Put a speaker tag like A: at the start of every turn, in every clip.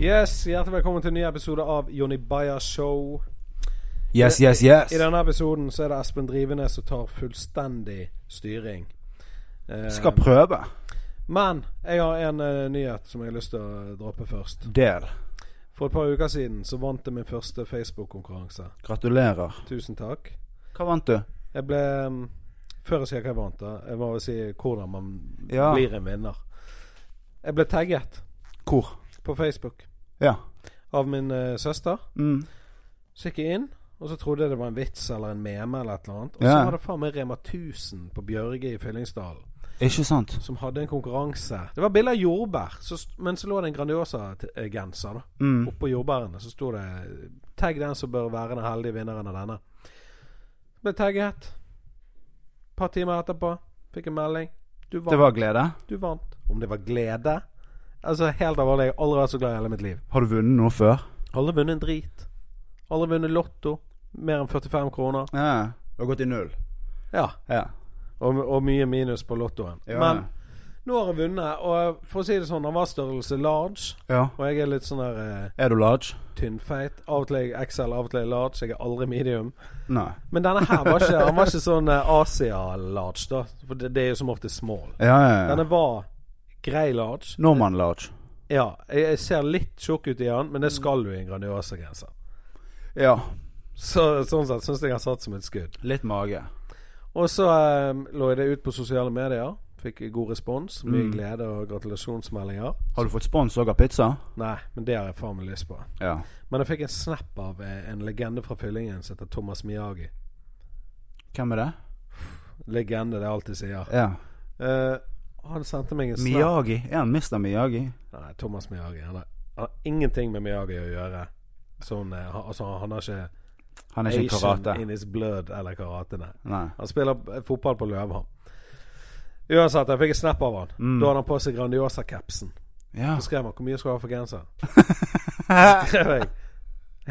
A: Yes, Hjertelig velkommen til en ny episode av Jonny Bayer Show.
B: Yes, yes, yes.
A: I denne episoden så er det Espen Drivenes som tar fullstendig styring. Eh,
B: Skal prøve.
A: men jeg har en eh, nyhet som jeg har lyst til å droppe først.
B: Del.
A: For et par uker siden så vant jeg min første Facebook-konkurranse.
B: Gratulerer.
A: Tusen takk.
B: Hva vant du?
A: Jeg ble mm, Før jeg sier hva jeg vant, da Jeg må vel si hvordan man
B: Ja.
A: blir en vinner. Jeg ble tagget
B: Hvor?
A: på Facebook
B: Ja.
A: av min eh, søster.
B: Mm.
A: Så gikk jeg inn, og så trodde jeg det var en vits eller en meme eller et eller annet. Og så
B: Ja.
A: var det faen meg Rema 1000 på Bjørge i Fyllingsdalen
B: Ikke sant?
A: som hadde en konkurranse. Det var bilde av jordbær, så, st- men så lå det en Grandiosa-genser da
B: Mm.
A: oppå jordbærene. Så sto det 'Tagg den som bør være den heldige vinneren av denne'. Ble tagget. Et par timer etterpå fikk en melding. Du
B: Det
A: vant.
B: var glede.
A: Du vant. Om det var glede? Altså, helt alvorlig, jeg har aldri vært så glad i hele mitt liv.
B: Har du vunnet noe før?
A: Aldri vunnet en drit. Aldri vunnet Lotto. Mer enn 45 kroner.
B: Ja. Du har gått i null.
A: Ja.
B: Ja.
A: Og, og mye minus på Lottoen.
B: Ja.
A: Men nå har jeg vunnet, og for å si det sånn, han var størrelse large.
B: ja.
A: Og jeg er litt sånn der eh,
B: Er du large?
A: tynnfeit. Av og til er jeg XL, av og til er jeg large. Jeg er aldri medium.
B: Nei.
A: Men denne her var ikke, han var ikke sånn eh, Asia-large, da. For det, det er jo som ofte small.
B: Ja, ja, ja.
A: Denne var grei large.
B: Nordmann large.
A: Ja, jeg, jeg ser litt tjukk ut i den, men det skal du i en Grandiosa-genser.
B: Ja.
A: Så, sånn sett syns jeg han satt som et skudd.
B: Litt mage.
A: Og så eh, lå jeg det ut på sosiale medier. Fikk god respons.
B: Mm.
A: Mye glede og gratulasjonsmeldinger.
B: Har du fått spons òg av pizza?
A: Nei, men det har jeg faen meg lyst på.
B: Ja.
A: Men jeg fikk en snap av eh, en legende fra fyllingen som heter Thomas Miyagi.
B: Hvem er det?
A: Legende, det er alt de sier.
B: Ja.
A: Eh, han sendte meg en snap
B: Miyagi. Er han Mr. Miyagi?
A: Nei, Thomas Miyagi. Han har, han har ingenting med Miyagi å gjøre. Sånn, eh, han, altså, han har ikke,
B: Han er ikke en karate.
A: in his blood eller karate, nei.
B: Nei.
A: Han spiller eh, fotball på Løvhamn. Uansett, jeg fikk en snap av han.
B: Mm.
A: Da hadde han på seg Grandiosa-capsen.
B: Ja.
A: Så skrev han 'Hvor mye skal du ha for genser?' skrev jeg.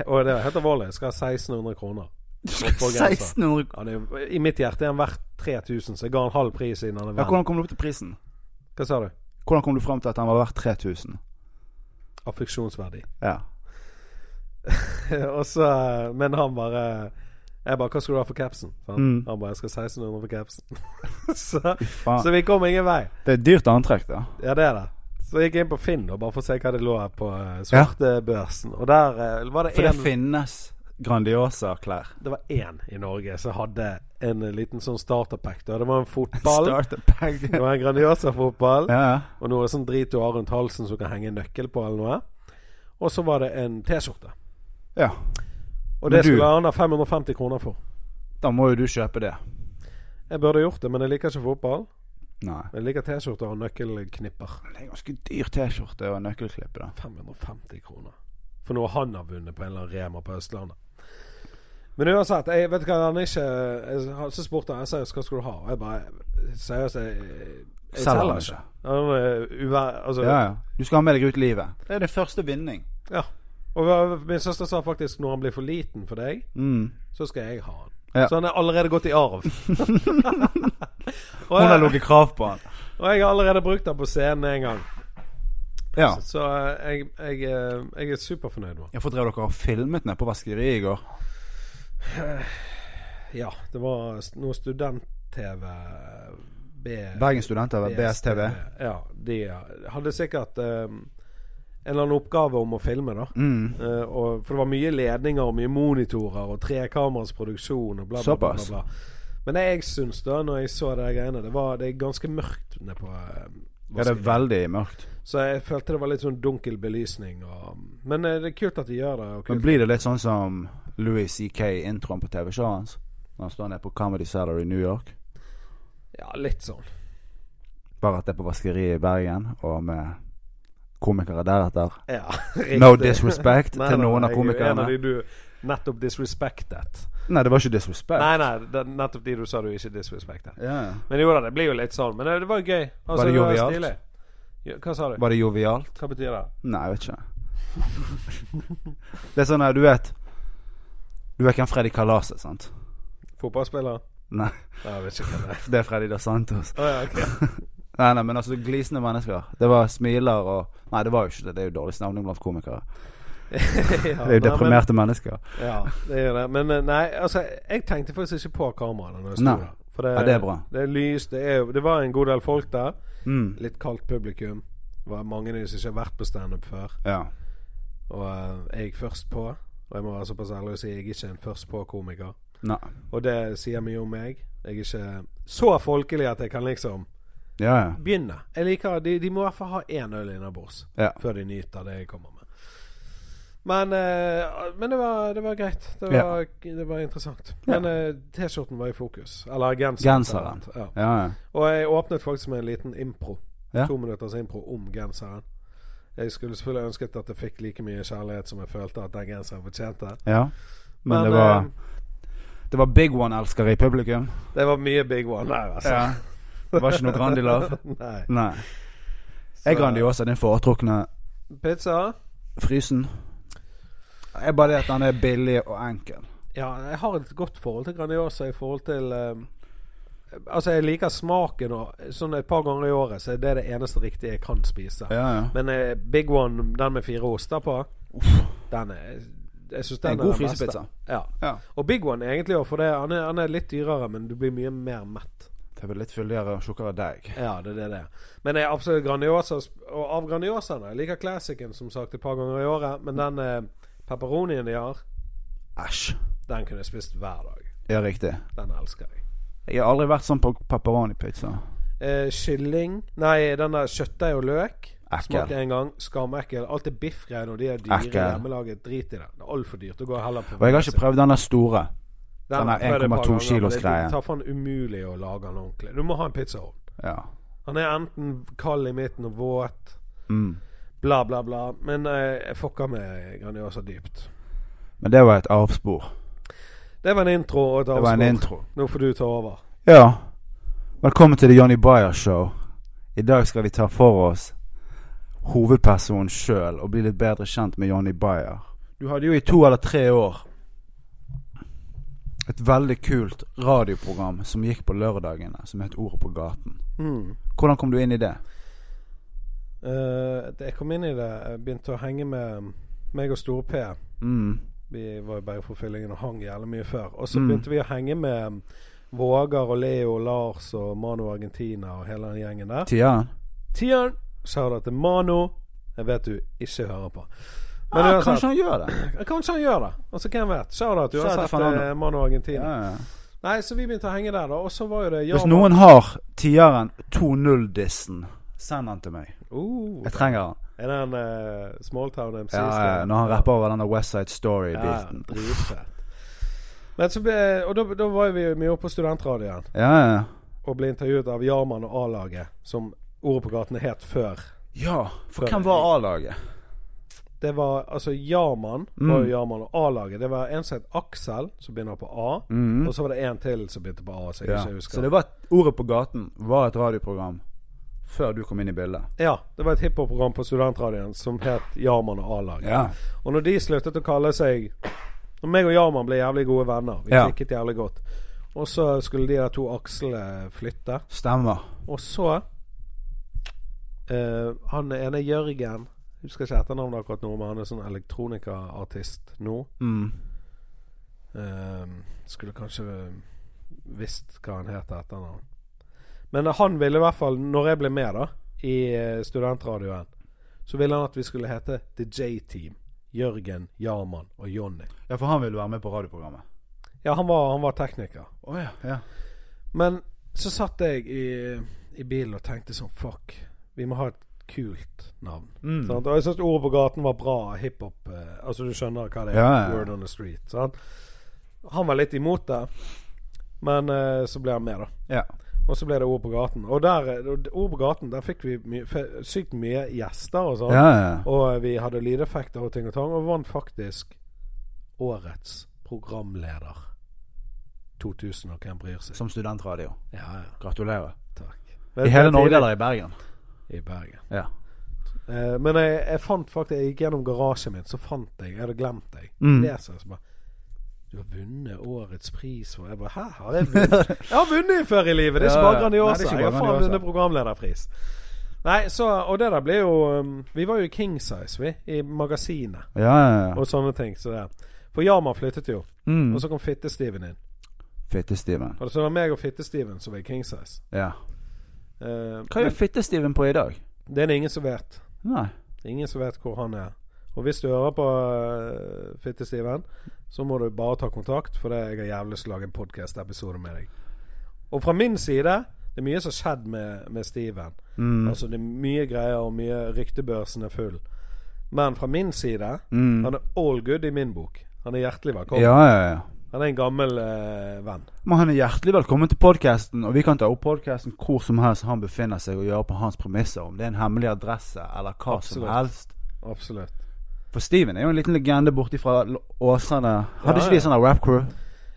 A: Og det er helt alvorlig. Jeg skal ha 1600 kroner. på genser.
B: 1600
A: Han er, jo- I mitt hjerte er han verdt 3000, så jeg ga han halv pris siden han er
B: ja,
A: venn.
B: Hvordan kom du opp til prisen?
A: Hva sa du?
B: Hvordan kom du frem til at han var verdt 3000?
A: Affeksjonsverdi.
B: Ja.
A: og så, eh, men han bare Jeg bare 'Hva skal du ha for capsen?' Sant?
B: Mm.
A: Han bare 'Jeg skal ha 1600 for capsen'. så,
B: Faen.
A: så vi kom ingen vei.
B: Det er et dyrt antrekk, da.
A: Ja, det er det. Så jeg gikk inn på Finn og bare for å se hva det lå på eh, svartebørsen. Og der eh, var det
B: For det
A: en-
B: finnes Grandiosa-klær.
A: Det var én i Norge som hadde en liten sånn starterpack. da. Det var en fotball.
B: Starterpack.
A: Det var en Grandiosa-fotball.
B: ja, ja.
A: Og noe sånn drit du har rundt halsen som kan henge en nøkkel på, eller noe. Og så var det en T-skjorte.
B: ja.
A: Og
B: Men
A: det
B: du-
A: skulle han ha 550 kroner for.
B: Da må jo du kjøpe det.
A: Jeg burde gjort det, men jeg liker ikke fotball.
B: Nei.
A: Jeg liker T-skjorter og nøkkelknipper.
B: Det er ganske dyr T-skjorte og nøkkelklippe, da.
A: 550 kroner. For noe han har vunnet på en eller annen Rema på Østlandet. Men uansett, jeg vet hva han ikke jeg, har- Så spurte han seriøst hva skulle du ha, og jeg bare Seriøst, jeg, jeg
B: Selger
A: selger
B: han
A: ikke.
B: ikke.
A: Han er uvær... Altså,
B: Ja,
A: ja.
B: ja. Du skal ha med deg ut livet. Det er din første vinning.
A: Og hva- min søster sa faktisk når han blir for liten for deg,
B: Mm.
A: så skal jeg ha han.
B: Ja.
A: Så han er allerede gått i arv. og,
B: Hun har
A: jeg,
B: ligget krav på han.
A: og jeg har allerede brukt den på scenen en gang.
B: Ja.
A: Så eh, jeg, jeg, eh, jeg er superfornøyd med den.
B: Jeg får drev dere og filmet ned på vaskeriet i går.
A: Ja, det var st- noe student-TV B...
B: Bergen Studenter, BSTV.
A: Ja, de hadde sikkert eh, en eller annen oppgave om å filme, da.
B: Mm.
A: Eh, og, for det var mye ledninger og mye monitorer og trekameras produksjon og bla, bla, bla.
B: Såpass.
A: bla, bla. Men det jeg syns, da, når jeg så de greiene Det var det er ganske mørkt nede på eh,
B: Ja, det er veldig mørkt.
A: Så jeg følte det var litt sånn dunkel belysning. Og, men eh, det er kult at de gjør det. Og
B: Men
A: kult.
B: blir det litt sånn som Louis C.K. introen på TV-showet hans? Når han står nede på Comedy Cellar i New York.
A: Ja, litt sånn.
B: Bare at det er på vaskeriet i Bergen, og med komikere deretter.
A: Ja,
B: No
A: riktig.
B: disrespect
A: Nei,
B: til
A: nei,
B: noen
A: nei, Jeg er
B: av
A: jo en
B: komikerne.
A: av de du nettopp disrespectet.
B: Nei, det var ikke disrespect.
A: Nei, nei, det er nettopp de du sa du ikke disrespectet.
B: Ja.
A: Men jo da, det blir jo litt sånn. Men det, det var jo gøy. Altså,
B: det
A: jo
B: jovialt?
A: stilig. Ja, Hva sa du?
B: Var det jovialt?
A: Hva betyr det?
B: Nei, jeg vet ikke. det er sånn her, du vet Du vet hvem Freddy Kalas er, sant?
A: Fotballspiller?
B: Nei,
A: Nei, jeg vet ikke hva det er.
B: det er Freddy da Santos.
A: Å ja, ok.
B: Nei, nei, men altså glisende mennesker. Det var smiler og Nei, det var jo ikke det. Det er jo dårlig stemning blant komikere.
A: Ja,
B: Det er jo
A: nei,
B: deprimerte mennesker.
A: Men, ja, det er jo det. Men eh, nei, altså, jeg tenkte faktisk ikke på kameraene når jeg sto
B: Nei.
A: der. For det,
B: Ja, det er bra.
A: Det er lys, det er jo Det var en god del folk der.
B: Mm.
A: Litt kaldt publikum. Det var mange av de som ikke har vært på standup før.
B: Ja.
A: Og eh, jeg først på. Og jeg må være såpass ærlig og si jeg er ikke en først på-komiker.
B: Nei.
A: Og det sier mye om meg. Jeg er ikke så folkelig at jeg kan liksom
B: Ja, ja.
A: begynne. Jeg liker De, de må i hvert fall ha én øl innabords
B: Ja.
A: før de nyter det jeg kommer med. Men, eh, men det, var, det var greit. Det
B: Ja.
A: var, det var interessant.
B: Ja.
A: Men eh, T-skjorten var i fokus. Eller genseren.
B: Genseren.
A: Ja.
B: Ja, ja.
A: Og jeg åpnet faktisk med en liten impro.
B: Ja.
A: To minutters impro om genseren. Jeg skulle selvfølgelig ønsket at jeg fikk like mye kjærlighet som jeg følte at den genseren fortjente.
B: ja. Men, det
A: eh,
B: var Det var big one-elskere i publikum.
A: det var mye big one der, altså.
B: Ja. Det var ikke noe Grandi love.
A: Nei.
B: Nei. Jeg
A: Så-
B: Grandiosa, din foretrukne
A: Pizza?
B: frysen. Jeg er bare det at den er billig og enkel.
A: Ja, jeg har et godt forhold til Grandiosa i forhold til eh, Altså, jeg liker smaken, og sånn et par ganger i året så er det det eneste riktige jeg kan spise.
B: Ja, ja.
A: Men eh, Big One, den med fire oster på, den er Jeg syns
B: Det er
A: den
B: en
A: er
B: god
A: den beste.
B: frysepizza.
A: Ja.
B: Ja.
A: Og Big One egentlig òg, for det, han, er, han er litt dyrere, men du blir mye mer mett.
B: Det blir litt fyldigere og tjukkere deig.
A: Ja, det er det det er. Men jeg er absolutt Grandiosa. Og av Grandiosaene Jeg liker classicen, som sagt, et par ganger i året, men den eh, pepperonien de har,
B: Æsj.
A: den kunne jeg spist hver dag.
B: Ja, riktig.
A: Den elsker jeg.
B: Jeg har aldri vært sånn på pepperoni-pizza.
A: Eh, kylling Nei, den der kjøttdeig og løk.
B: Ekkel.
A: Smakte en gang. Skamekkel. Alt er biffgreier når de er dyre.
B: Ekkel.
A: Hjemmelaget. Drit i det. Det er altfor dyrt. Du går heller på
B: Og jeg har ikke prøvd den der store. den der
A: har jeg prøvd et par
B: 1,2
A: ganger, men
B: kilos greien.
A: Det tar faen umulig å lage den ordentlig. Du må ha en pizzaovn.
B: Ja.
A: Han er enten kald i midten og våt.
B: Mm.
A: Bla, bla, bla. Men eh, jeg fucker med Grandiosa dypt.
B: Men det var et arvspor.
A: Det var en intro og et
B: Det var en
A: avspor.
B: intro.
A: Nå får du ta over.
B: Ja. Velkommen til The Johnny Bayer Show. I dag skal vi ta for oss hovedpersonen sjøl og bli litt bedre kjent med Johnny Bayer. Du hadde jo i to eller tre år et veldig kult radioprogram som gikk på lørdagene, som het Ordet på gaten.
A: Hmm.
B: Hvordan kom du inn i det?
A: Eh, jeg kom inn i det. Jeg begynte å henge med meg og Store P.
B: Mm.
A: Vi var jo bare på fyllingen og hang jævlig mye før. Og så
B: Mm.
A: begynte vi å henge med Vågar og Leo og Lars og Mano Argentina og hele den gjengen der.
B: Tian?
A: Tian sa det til Mano. Jeg vet du ikke hører på. Men
B: Ah,
A: uansett,
B: kanskje han gjør det.
A: kanskje. han gjør det. Altså, hvem vet. Sa det
B: Shout out
A: uansett
B: til Fernando.
A: eh, Mano Argentina.
B: Ja, ja.
A: Nei, så vi begynte å henge der, da. Og så var jo det
B: Hvis noen har tieren 2-0-dissen, send den til meg.
A: oh,
B: Jeg trenger den.
A: Er det en eh, Smalltown MC?
B: Ja, ja, ja, når han rapper over denne West Side Story-biten.
A: Dritfett. Men så ble, og da, da var jo vi mye oppe på studentradioen.
B: Ja, ja.
A: og ble intervjuet av Jarman og A-laget, som Ordet på gaten het før.
B: Ja,
A: Før-
B: for hvem var A-laget?
A: Det var altså Jarman
B: Mm.
A: var jo Jarman og A-laget. Det var en som het Aksel, som begynner på A.
B: Mhm.
A: Og så var det en til som begynte på A, som jeg
B: Ja.
A: ikke husker.
B: Så det var Ordet på gaten var et radioprogram før du kom inn i bildet.
A: ja, det var et hiphop-program på studentradioen som het Jarman og A-laget.
B: Ja.
A: Og når de sluttet å kalle seg Når meg og Jarman ble jævlig gode venner, vi
B: Ja.
A: klikket jævlig godt, og så skulle de der to Aksel eh, flytte,
B: Stemmer.
A: og så eh, Han ene Jørgen jeg Husker ikke etternavnet akkurat nå, men han er sånn elektronikaartist nå.
B: Mm.
A: Eh, skulle kanskje visst hva han het etter navn. Men han ville i hvert fall, når jeg ble med da, i eh, studentradioen, så ville han at vi skulle hete The J-Team. Jørgen, Jarman og Jonny.
B: Ja, for han ville være med på radioprogrammet.
A: Ja, han var, han var tekniker.
B: Å ja. ja.
A: Men så satt jeg i, i bilen og tenkte sånn Fuck, vi må ha et kult navn.
B: Mm.
A: Sant? Og jeg syns ordet på gaten var bra hiphop. Eh, altså, du skjønner hva det er.
B: Ja, ja, ja.
A: Word on the street. Sant? Han var litt imot det, men eh, så ble han med, da.
B: ja.
A: Og så ble det Ord på gaten. Og der, eh, og Ord på gaten, der fikk vi mye, fe- sykt mye gjester og sånn.
B: ja, ja.
A: Og eh, vi hadde lydeffekter og ting og tang, og vant faktisk årets programleder. 2000, og hvem bryr seg?
B: Som studentradio.
A: Ja, ja.
B: Gratulerer.
A: Takk.
B: I hele Norge eller i Bergen?
A: I Bergen.
B: Ja.
A: Eh, men jeg, jeg fant faktisk Jeg gikk gjennom garasjen min, så fant jeg Jeg hadde glemt deg.
B: Mm.
A: Leser jeg så bare Du har vunnet årets pris for Jeg bare Hæ, har jeg vunnet? Jeg har vunnet før i livet! Det er
B: Ja,
A: ikke
B: ja.
A: bare
B: Nei, det
A: Grandiosa.
B: er
A: Jeg
B: ikke
A: har
B: bare
A: faen
B: Grandiosa.
A: vunnet programlederpris. Nei, så Og det der ble jo um, Vi var jo i King Size, vi. I magasinet
B: Ja, ja, ja.
A: og sånne ting. Så det. For Jaman flyttet jo.
B: Mm.
A: Og så kom Fitte-Steven inn.
B: Fittestiven.
A: Og så var det meg og Fitte-Steven som var i King Size.
B: Ja.
A: Eh,
B: Hva
A: men
B: gjør fittestiven på i dag?
A: det er det ingen som vet.
B: Nei.
A: Det er ingen som vet hvor han er. Og hvis du hører på uh, Fitte-Steven, så må du bare ta kontakt, for det jeg har jævlig lyst til å lage en podkast-episode med deg. Og fra min side det er mye som har skjedd med, med Steven.
B: Mm.
A: Altså Det er mye greier, og mye ryktebørsen er full. Men fra min side
B: Mm.
A: han er all good i min bok. Han er hjertelig velkommen.
B: Ja, ja, ja.
A: Han er en gammel eh, venn.
B: Men han er hjertelig velkommen til podkasten, og vi kan ta opp podkasten hvor som helst han befinner seg, og gjøre på hans premisser. Om det er en hemmelig adresse eller hva
A: Absolutt.
B: som helst.
A: Absolutt.
B: For Steven er jo en liten legende borti fra L- Åsane. Hadde
A: Ja,
B: ikke
A: ja.
B: de sånn der rap crew?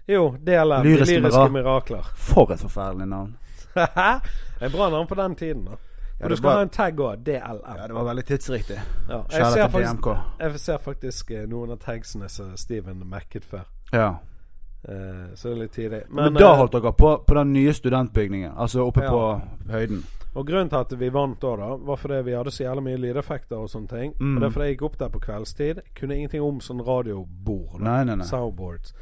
A: Jo, DLM. de
B: Lyriske
A: Lyriske,
B: mira-
A: mirakler.
B: For et forferdelig navn.
A: det er bra navn på den tiden, da. Og
B: Ja,
A: du
B: det
A: skal
B: var-
A: ha en tag òg. DLM.
B: Ja, det var veldig tidsriktig.
A: Ja, jeg,
B: Kjære
A: ser
B: til
A: faktisk,
B: DMK.
A: jeg ser faktisk eh, noen av tagsene som Steven mekket før.
B: Ja.
A: Eh, så det er litt tidlig.
B: Men,
A: Men,
B: da
A: eh,
B: holdt dere på på den nye studentbygningen, altså oppe
A: Ja.
B: på høyden.
A: og grunnen til at vi vant da, da var fordi vi hadde så jævla mye lydeffekter og sånne ting.
B: Mm.
A: Og det er fordi jeg gikk opp der på kveldstid. Kunne ingenting om sånn radiobord. da.
B: Nei, nei, nei.
A: Soundboards.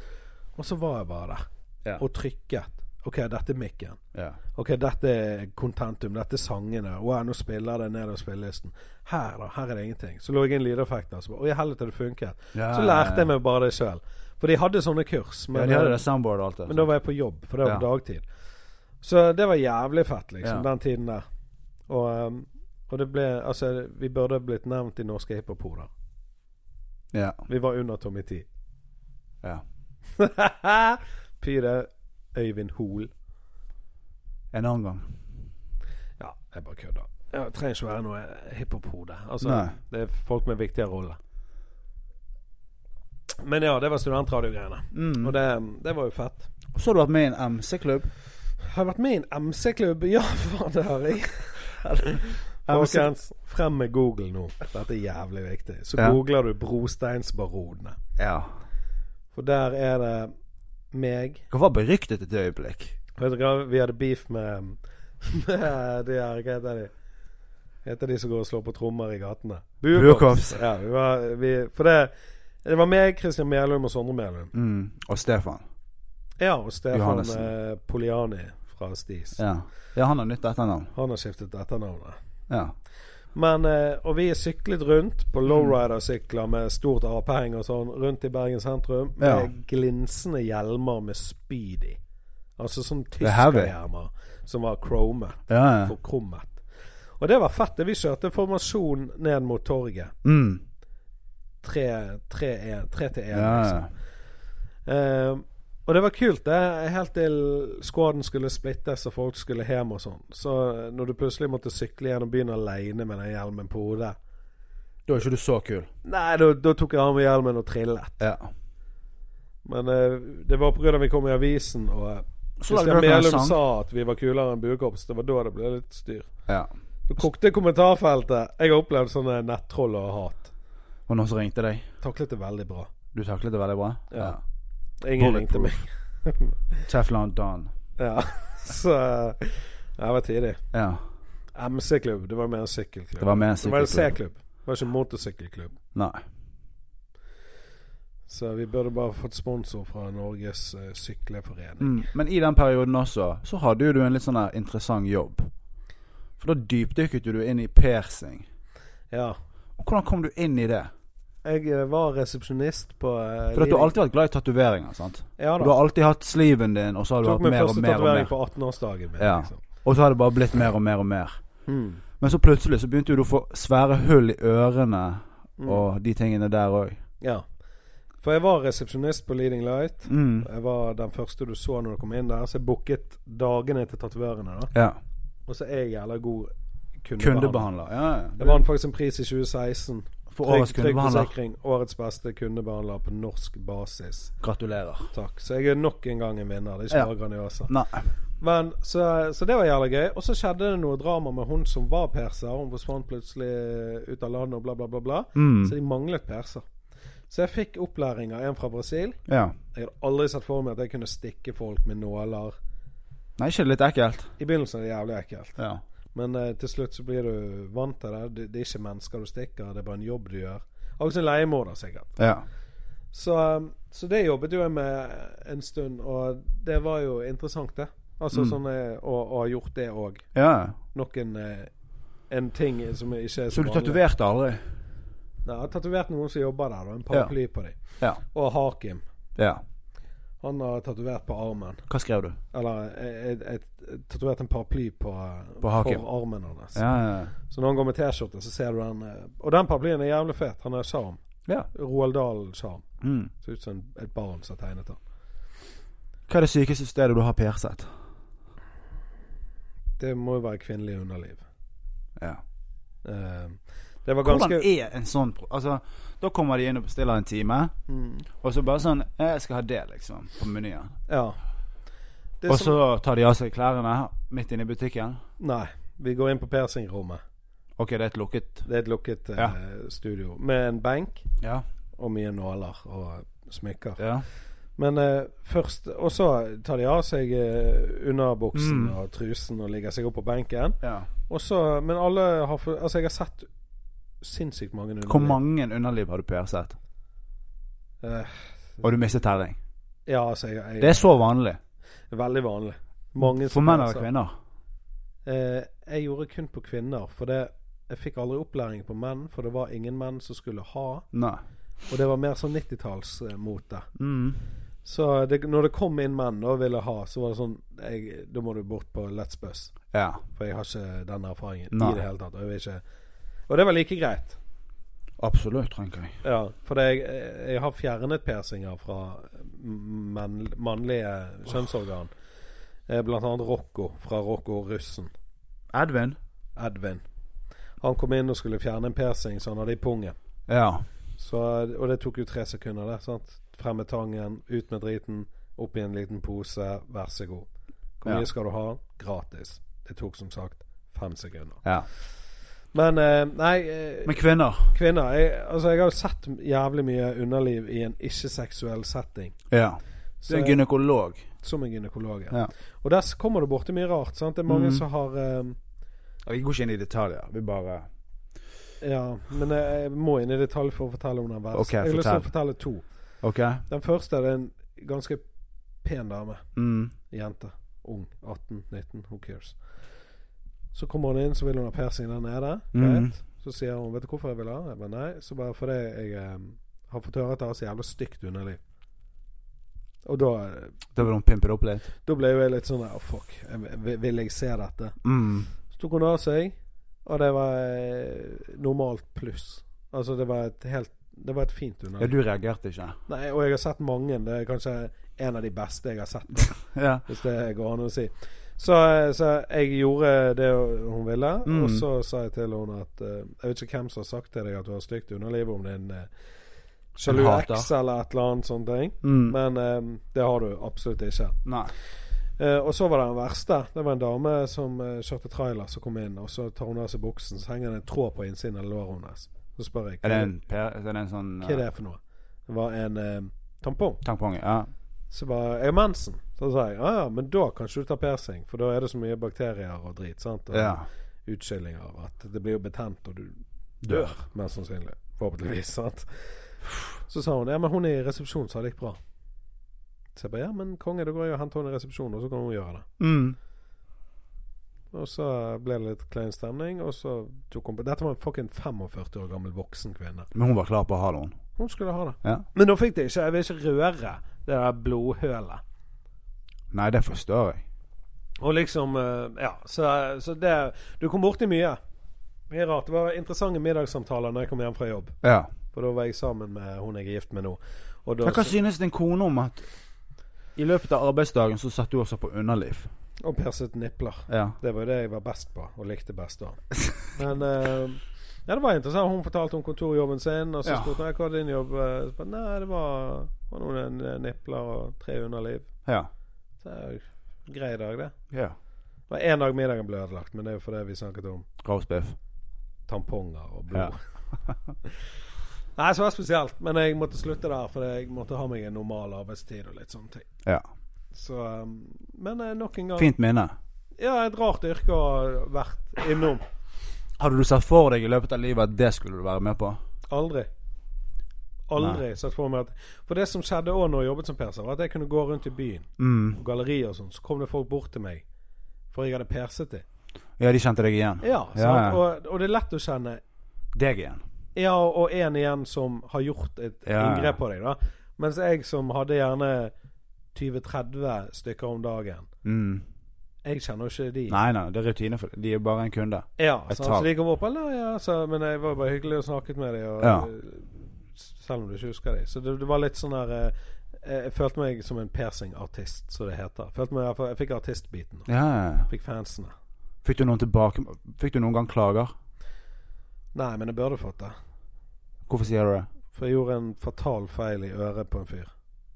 A: Og så var jeg bare der.
B: Ja.
A: Og trykket. OK, dette er mikken.
B: Ja.
A: Ok, dette er contentum, dette er sangene. Wow, nå spiller det nedover spillelisten. Her, da. Her er det ingenting. Så lå jeg inn lydeffekter. så bare, Å, i helvete, det funket.
B: Ja,
A: Så lærte jeg meg bare det sjøl. For de hadde sånne kurs.
B: Eh. Ja,
A: Men, eh,
B: de hadde det soundboard og alt det.
A: men da var jeg på jobb, for det var
B: Ja.
A: dagtid. Så det var jævlig fett, liksom,
B: Ja.
A: den tiden der. Og, ehm, og det ble Altså, vi burde blitt nevnt i norske hiphop-hoder.
B: Ja.
A: Vi var under Tommy T.
B: ja.
A: Pyre Øyvind Hoel.
B: En annen gang.
A: Ja, jeg bare kødder. Jeg trenger ikke være noe hiphop-hode. Altså,
B: Nei.
A: det er folk med viktige roller. Men ja, det var studentradiogreiene.
B: Mm.
A: Og det, det var jo fett.
B: Og så har du vært med i en MC-klubb.
A: Har jeg vært med i en MC-klubb? Ja, faen, det har jeg. Folkens, frem med Google nå. Dette er jævlig viktig. Så
B: Ja.
A: googler du Brosteinsbaronene.
B: Ja.
A: For der er det meg
B: Dere var beryktet et øyeblikk.
A: Vet du hva, vi hadde beef med, med de her Hva heter de? Heter de som går og slår på trommer i gatene?
B: Buekorps.
A: Ja, vi var, vi, for det Det var meg, Christian Melum og Sondre Melum.
B: Mm. Og Stefan.
A: Ja, og Stefan
B: Johannessen.
A: eh, Poliani fra Stis.
B: Ja. ja, han har nytt etternavn.
A: Han har skiftet etternavnet.
B: Ja.
A: Men, eh, og vi syklet rundt på lowrider-sykler med stort apeheng og sånn rundt i Bergen sentrum med
B: Ja.
A: glinsende hjelmer med spyd i. Altså sånn
B: er heavy.
A: tyskerhjelmer som var chromet,
B: ja, ja.
A: forkrummet. Og det var fett. det. Vi kjørte formasjon ned mot torget.
B: Mm.
A: Tre tre en- tre til én,
B: ja, ja.
A: liksom. Eh, og det var kult, det. Helt til skåden skulle splittes og folk skulle hjem og sånn. Så når du plutselig måtte sykle gjennom byen aleine med den hjelmen på hodet
B: Da er ikke du så kul.
A: Nei, da, da tok jeg av meg hjelmen og trillet.
B: Ja.
A: Men eh, det var pga. vi kom i avisen, og eh,
B: Så lagde
A: Christian
B: dere en
A: Melum
B: sang.
A: sa at vi var kulere enn Buekorps. Det var da det ble litt styr.
B: Ja.
A: Det kokte i kommentarfeltet. Jeg har opplevd sånne nettroll og hat.
B: Og noen som ringte deg.
A: Taklet det veldig bra.
B: Du taklet det veldig bra?
A: Ja. Ingen ringte meg.
B: Teflon Don.
A: Ja, så eh, Det var tidlig.
B: Ja.
A: MC-klubb. Det var mer en sykkelklubb.
B: Det var med en
A: Det var en
B: sykkelklubb.
A: C-klubb. Det var ikke en motorsykkelklubb.
B: Nei.
A: Så vi burde bare fått sponsor fra Norges eh, sykleforening.
B: Mm. Men i den perioden også, så hadde jo du en litt sånn der interessant jobb. For da dypdykket jo du inn i persing.
A: Ja.
B: Og hvordan kom du inn i det?
A: Jeg eh, var resepsjonist på eh,
B: For at du
A: Liding.
B: har alltid vært glad i tatoveringer, sant?
A: Ja
B: Og
A: da.
B: du har alltid hatt sliven din, og så har du
A: Tok
B: hatt
A: min
B: mer og
A: første
B: mer og
A: tatovering
B: mer.
A: på 18-årsdagen min.
B: Ja.
A: Liksom.
B: Og så har det bare blitt mer og mer og mer.
A: Mm.
B: Men så plutselig så begynte jo du å få svære hull i ørene
A: Mm.
B: og de tingene der òg.
A: ja. For jeg var resepsjonist på Leading Light.
B: Mm.
A: Jeg var den første du så når du kom inn der, så jeg booket dagene til tatoverene. da
B: Ja.
A: Og så er jeg jævla god kundebehandler.
B: Kundebehandler. Ja,
A: Jeg
B: ja.
A: vant faktisk en pris i 2016.
B: For årets kundebehandler.
A: forsikring. Årets beste kundebehandler på norsk basis.
B: Gratulerer.
A: Takk. Så jeg er nok en gang en vinner. Det er ikke
B: Ja.
A: bare Grandiosa.
B: Nei.
A: Men, så, så det var jævla gøy. Og så skjedde det noe drama med hun som var perser. Hun forsvant plutselig ut av landet og bla, bla, bla. bla.
B: Mm.
A: Så de manglet perser. Så jeg fikk opplæring av en fra Brasil.
B: Ja.
A: Jeg hadde aldri sett for meg at jeg kunne stikke folk med nåler.
B: Nei, ikke det litt ekkelt?
A: I begynnelsen er det jævlig ekkelt,
B: Ja.
A: men eh, til slutt så blir du vant til det. det. Det er ikke mennesker du stikker, det er bare en jobb du gjør. Akkurat som en leiemorder, sikkert.
B: Ja.
A: Så, um, så det jobbet jo jeg med en stund, og det var jo interessant, det. Altså
B: Mm.
A: sånn eh, å, å ha gjort det òg.
B: ja.
A: Nok en, eh, en ting som ikke er
B: Så du
A: vanlig.
B: tatoverte aldri?
A: Nei, jeg har tatovert noen som jobber der, og en paraply på dem.
B: Ja.
A: Og Hakim.
B: Ja.
A: Han har tatovert på armen.
B: Hva skrev du?
A: Eller eh, jeg- jeg jeg tatoverte en paraply på,
B: På Hakim.
A: for armen hans.
B: Ja, ja.
A: Så når han går med T-skjorte, så ser du den. eh, Og den paraplyen er jævlig fet. Han har sjarm.
B: ja.
A: Roald Dahl-sjarm.
B: Mm.
A: Ser ut som et barn som har tegnet den.
B: Hva er det sykeste stedet du har perset?
A: Det må jo være kvinnelig underliv.
B: Ja.
A: Eh, det var
B: Hvordan
A: ganske
B: er en sånn pro- Altså, da kommer de inn og bestiller en time,
A: mm,
B: og så bare sånn «Ja, 'Jeg skal ha det', liksom, på menyen.
A: Ja. Det
B: Og
A: som,
B: så tar de av seg klærne midt inne i butikken.
A: nei, vi går inn på piercingrommet.
B: Ok, det er et lukket
A: Det er et lukket eh, studio med en benk
B: Ja.
A: og mye nåler og smykker.
B: ja.
A: Men eh, først Og så tar de av seg eh, underbuksen
B: Mm.
A: og trusen og ligger seg opp på benken.
B: ja.
A: Og så Men alle har for, Altså, jeg har sett sinnssykt mange underliv.
B: Hvor mange underliv har du perset?
A: Eh,
B: Og du mistet telling?
A: ja, altså, jeg, jeg
B: Det er så vanlig.
A: Veldig vanlig. Mange
B: For menn eller
A: altså-
B: kvinner.
A: Eh, jeg gjorde kun på kvinner, for det, jeg fikk aldri opplæring på menn, for det var ingen menn som skulle ha,
B: Nei.
A: og det var mer sånn 90-tallsmote.
B: Mm.
A: Så det, når det kom inn menn og ville ha, så var det sånn jeg, Da må du bort på Let's Buss,
B: Ja.
A: for jeg har ikke den erfaringen
B: Nei.
A: i det hele tatt. Og, jeg vil ikke, og det var like greit,
B: Absolutt, tenker jeg.
A: ja, for det, jeg, jeg har fjernet persinger fra menn- mannlige kjønnsorgan. Eh, Blant annet Rocco fra Rocco og Russen.
B: Edvin?
A: Edvin. Han kom inn og skulle fjerne en persing så han hadde i pungen.
B: Ja.
A: Så, og det tok jo tre sekunder, det. sant? Frem med tangen, ut med driten, opp i en liten pose, vær så god. Hvor
B: Ja.
A: mye skal du ha? Gratis. Det tok som sagt fem sekunder.
B: ja.
A: Men eh, nei, eh,
B: Men kvinner?
A: kvinner jeg, Altså, jeg har jo sett jævlig mye underliv i en ikke-seksuell setting.
B: Ja. Du
A: Så
B: er
A: jeg,
B: gynekolog.
A: som en gynekolog.
B: Ja.
A: Og der s- kommer det borti mye rart. sant? Det er mange
B: Mhm.
A: som har eh,
B: Vi går ikke inn i detaljer. Vi bare
A: Ja, men jeg, jeg må inn i detalj for å fortelle om den verste.
B: Ok,
A: jeg har lyst til å
B: fortell.
A: fortelle to.
B: Ok?
A: Den første det er en ganske pen dame.
B: Mm.
A: Jente. Ung. 18-19. Who cares? Så kommer hun inn, så vil hun ha persing der nede.
B: Mhm.
A: Greit. Så sier hun 'Vet du hvorfor jeg vil ha?' Jeg bare nei. Så bare fordi jeg eh, har fått høre at jeg har så jævla stygt underliv. Og da,
B: Da vil hun pimpe det opp litt?
A: da ble jo jeg litt sånn der, Å, fuck. Jeg, vil- vil jeg se dette?
B: Mm.
A: Så tok hun av seg, og det var eh, normalt pluss. Altså, det var et helt Det var et fint
B: Ja,
A: underliv.
B: du reagerte ikke?
A: Nei, og jeg har sett mange. Det er kanskje en av de beste jeg har sett.
B: Ja.
A: Hvis det går an å si. Så, eh, så jeg gjorde det hun ville,
B: Mm.
A: og så sa jeg til henne at eh, Jeg vet ikke hvem som har sagt til deg at du har stygt underliv, om det er en eh, sjalu
B: En hater.
A: eks eller et eller annet sånt ting,
B: Mm.
A: men eh, det har du absolutt ikke.
B: Nei.
A: Eh, og så var det den verste. Det var en dame som eh, kjørte trailer som kom inn, og så tar hun av seg buksen, så henger det en tråd på innsiden av låret hennes. Så spør jeg hva
B: Er det
A: er,
B: en, per, er det en sånn
A: hva er det for noe. Det var en eh, tampong.
B: Tampong? Ja.
A: Så bare Jeg har mensen. Så sa jeg ja ja, men da kan ikke du ta persing, for da er det så mye bakterier og drit. sant? Og
B: ja.
A: Utskillinger. At det blir jo betent, og du
B: Dør.
A: dør, mest sannsynlig. Forhåpentligvis. sant? Så sa hun ja, men hun er i resepsjon, så det gikk bra. Så jeg bare ja, men konge, da går jeg og henter henne i resepsjonen, og så kan hun gjøre det.
B: Mm.
A: Og så ble det litt klein stemning, og så tok hun på Dette var en fucking 45 år gammel voksen kvinne.
B: Men hun var klar på å ha det, hun.
A: Hun skulle ha det.
B: Ja.
A: Men da fikk det ikke. Jeg vil ikke røre det der blodhølet.
B: Nei, det forstår jeg.
A: Og liksom eh, Ja, så, så det Du kom borti mye. Mye rart. Det var interessante middagssamtaler når jeg kom hjem fra jobb.
B: Ja.
A: For da var jeg sammen med hun jeg er gift med nå. Og da
B: Men hva synes din kone om at i løpet av arbeidsdagen så satt du også på underliv?
A: Og perset nipler.
B: Ja.
A: Det var jo det jeg var best på, og likte best da. Men eh, ja, det var interessant. Hun fortalte om kontorjobben sin, og så
B: Ja.
A: spurte jeg hva er din jobb Eh, så bare, Nei, det var, var noen eh, nipler og tre underliv.
B: Ja.
A: Så det er jo en grei dag, det.
B: ja.
A: Det var én dag middagen ble ødelagt, men det er jo fordi vi snakket om
B: Roastbiff.
A: tamponger og blod. Nei, så var det spesielt. Men jeg måtte slutte der, for jeg måtte ha meg en normal arbeidstid og litt sånne ting.
B: Ja.
A: Så um, Men eh, nok en gang
B: Fint minne.
A: Ja, et rart yrke å ha vært innom.
B: Hadde du sett for deg i løpet av livet at det skulle du være med på?
A: Aldri. Aldri sett for meg at For det som skjedde òg når jeg jobbet som perser, var at jeg kunne gå rundt i byen
B: Mm.
A: og gallerier og sånn, så kom det folk bort til meg. For jeg hadde perset det.
B: Ja, de kjente deg igjen.
A: Ja, sant?
B: Ja, ja.
A: Og, og det er lett å kjenne
B: Deg igjen.
A: Ja, og en igjen som har gjort et
B: Ja, ja.
A: inngrep på deg, da. Mens jeg som hadde gjerne 20-30 stykker om dagen,
B: Mm.
A: jeg kjenner jo ikke de.
B: Nei, nei, det er rutine for De er bare en kunde.
A: Ja,
B: Et
A: sant?
B: tall.
A: så de kom opp, eller? Ja, så, men jeg var bare hyggelig og snakket med dem, og,
B: Ja.
A: selv om du ikke husker dem. Så det, det var litt sånn der eh, Jeg følte meg som en piercingartist, som det heter. Følte meg, jeg fikk artistbiten.
B: Ja, ja, ja.
A: Fikk fansene.
B: Fikk du noen tilbake Fikk du noen gang klager?
A: Nei, men jeg burde fått det.
B: Hvorfor sier du det?
A: For jeg gjorde en fatal feil i øret på en fyr.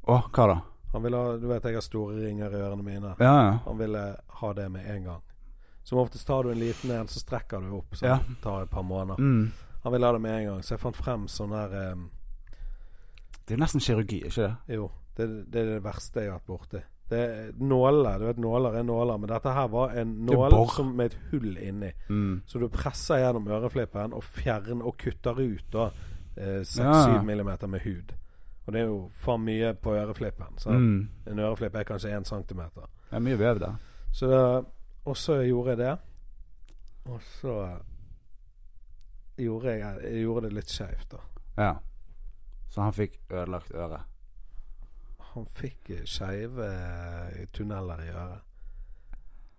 B: Å, hva da?
A: Han ville ha Du vet jeg har store ringer i ørene mine.
B: Ja, ja.
A: Han ville ha det med en gang. Som oftest tar du en liten en, så strekker du opp. Så
B: Ja.
A: det tar et par måneder.
B: Mm.
A: Han ville ha det med en gang, så jeg fant frem sånn her eh,
B: Det er jo nesten kirurgi, ikke det?
A: Jo, det, det er det verste jeg har vært borti. Det er nåler. Du vet nåler er nåler, men dette her var en
B: er
A: nål
B: borr.
A: som med et hull inni.
B: Mm.
A: Så du presser gjennom øreflippen og fjerner og kutter ut da eh, 6-7
B: Ja.
A: millimeter med hud. Og det er jo for mye på øreflippen. Så
B: Mm.
A: en øreflipp er kanskje 1 centimeter.
B: Det er mye vev der.
A: Så da, og så gjorde jeg det. Og så gjorde jeg, jeg gjorde det litt skeivt, da.
B: Ja. Så han fikk ødelagt øret.
A: Han fikk skeive tunneler i øret.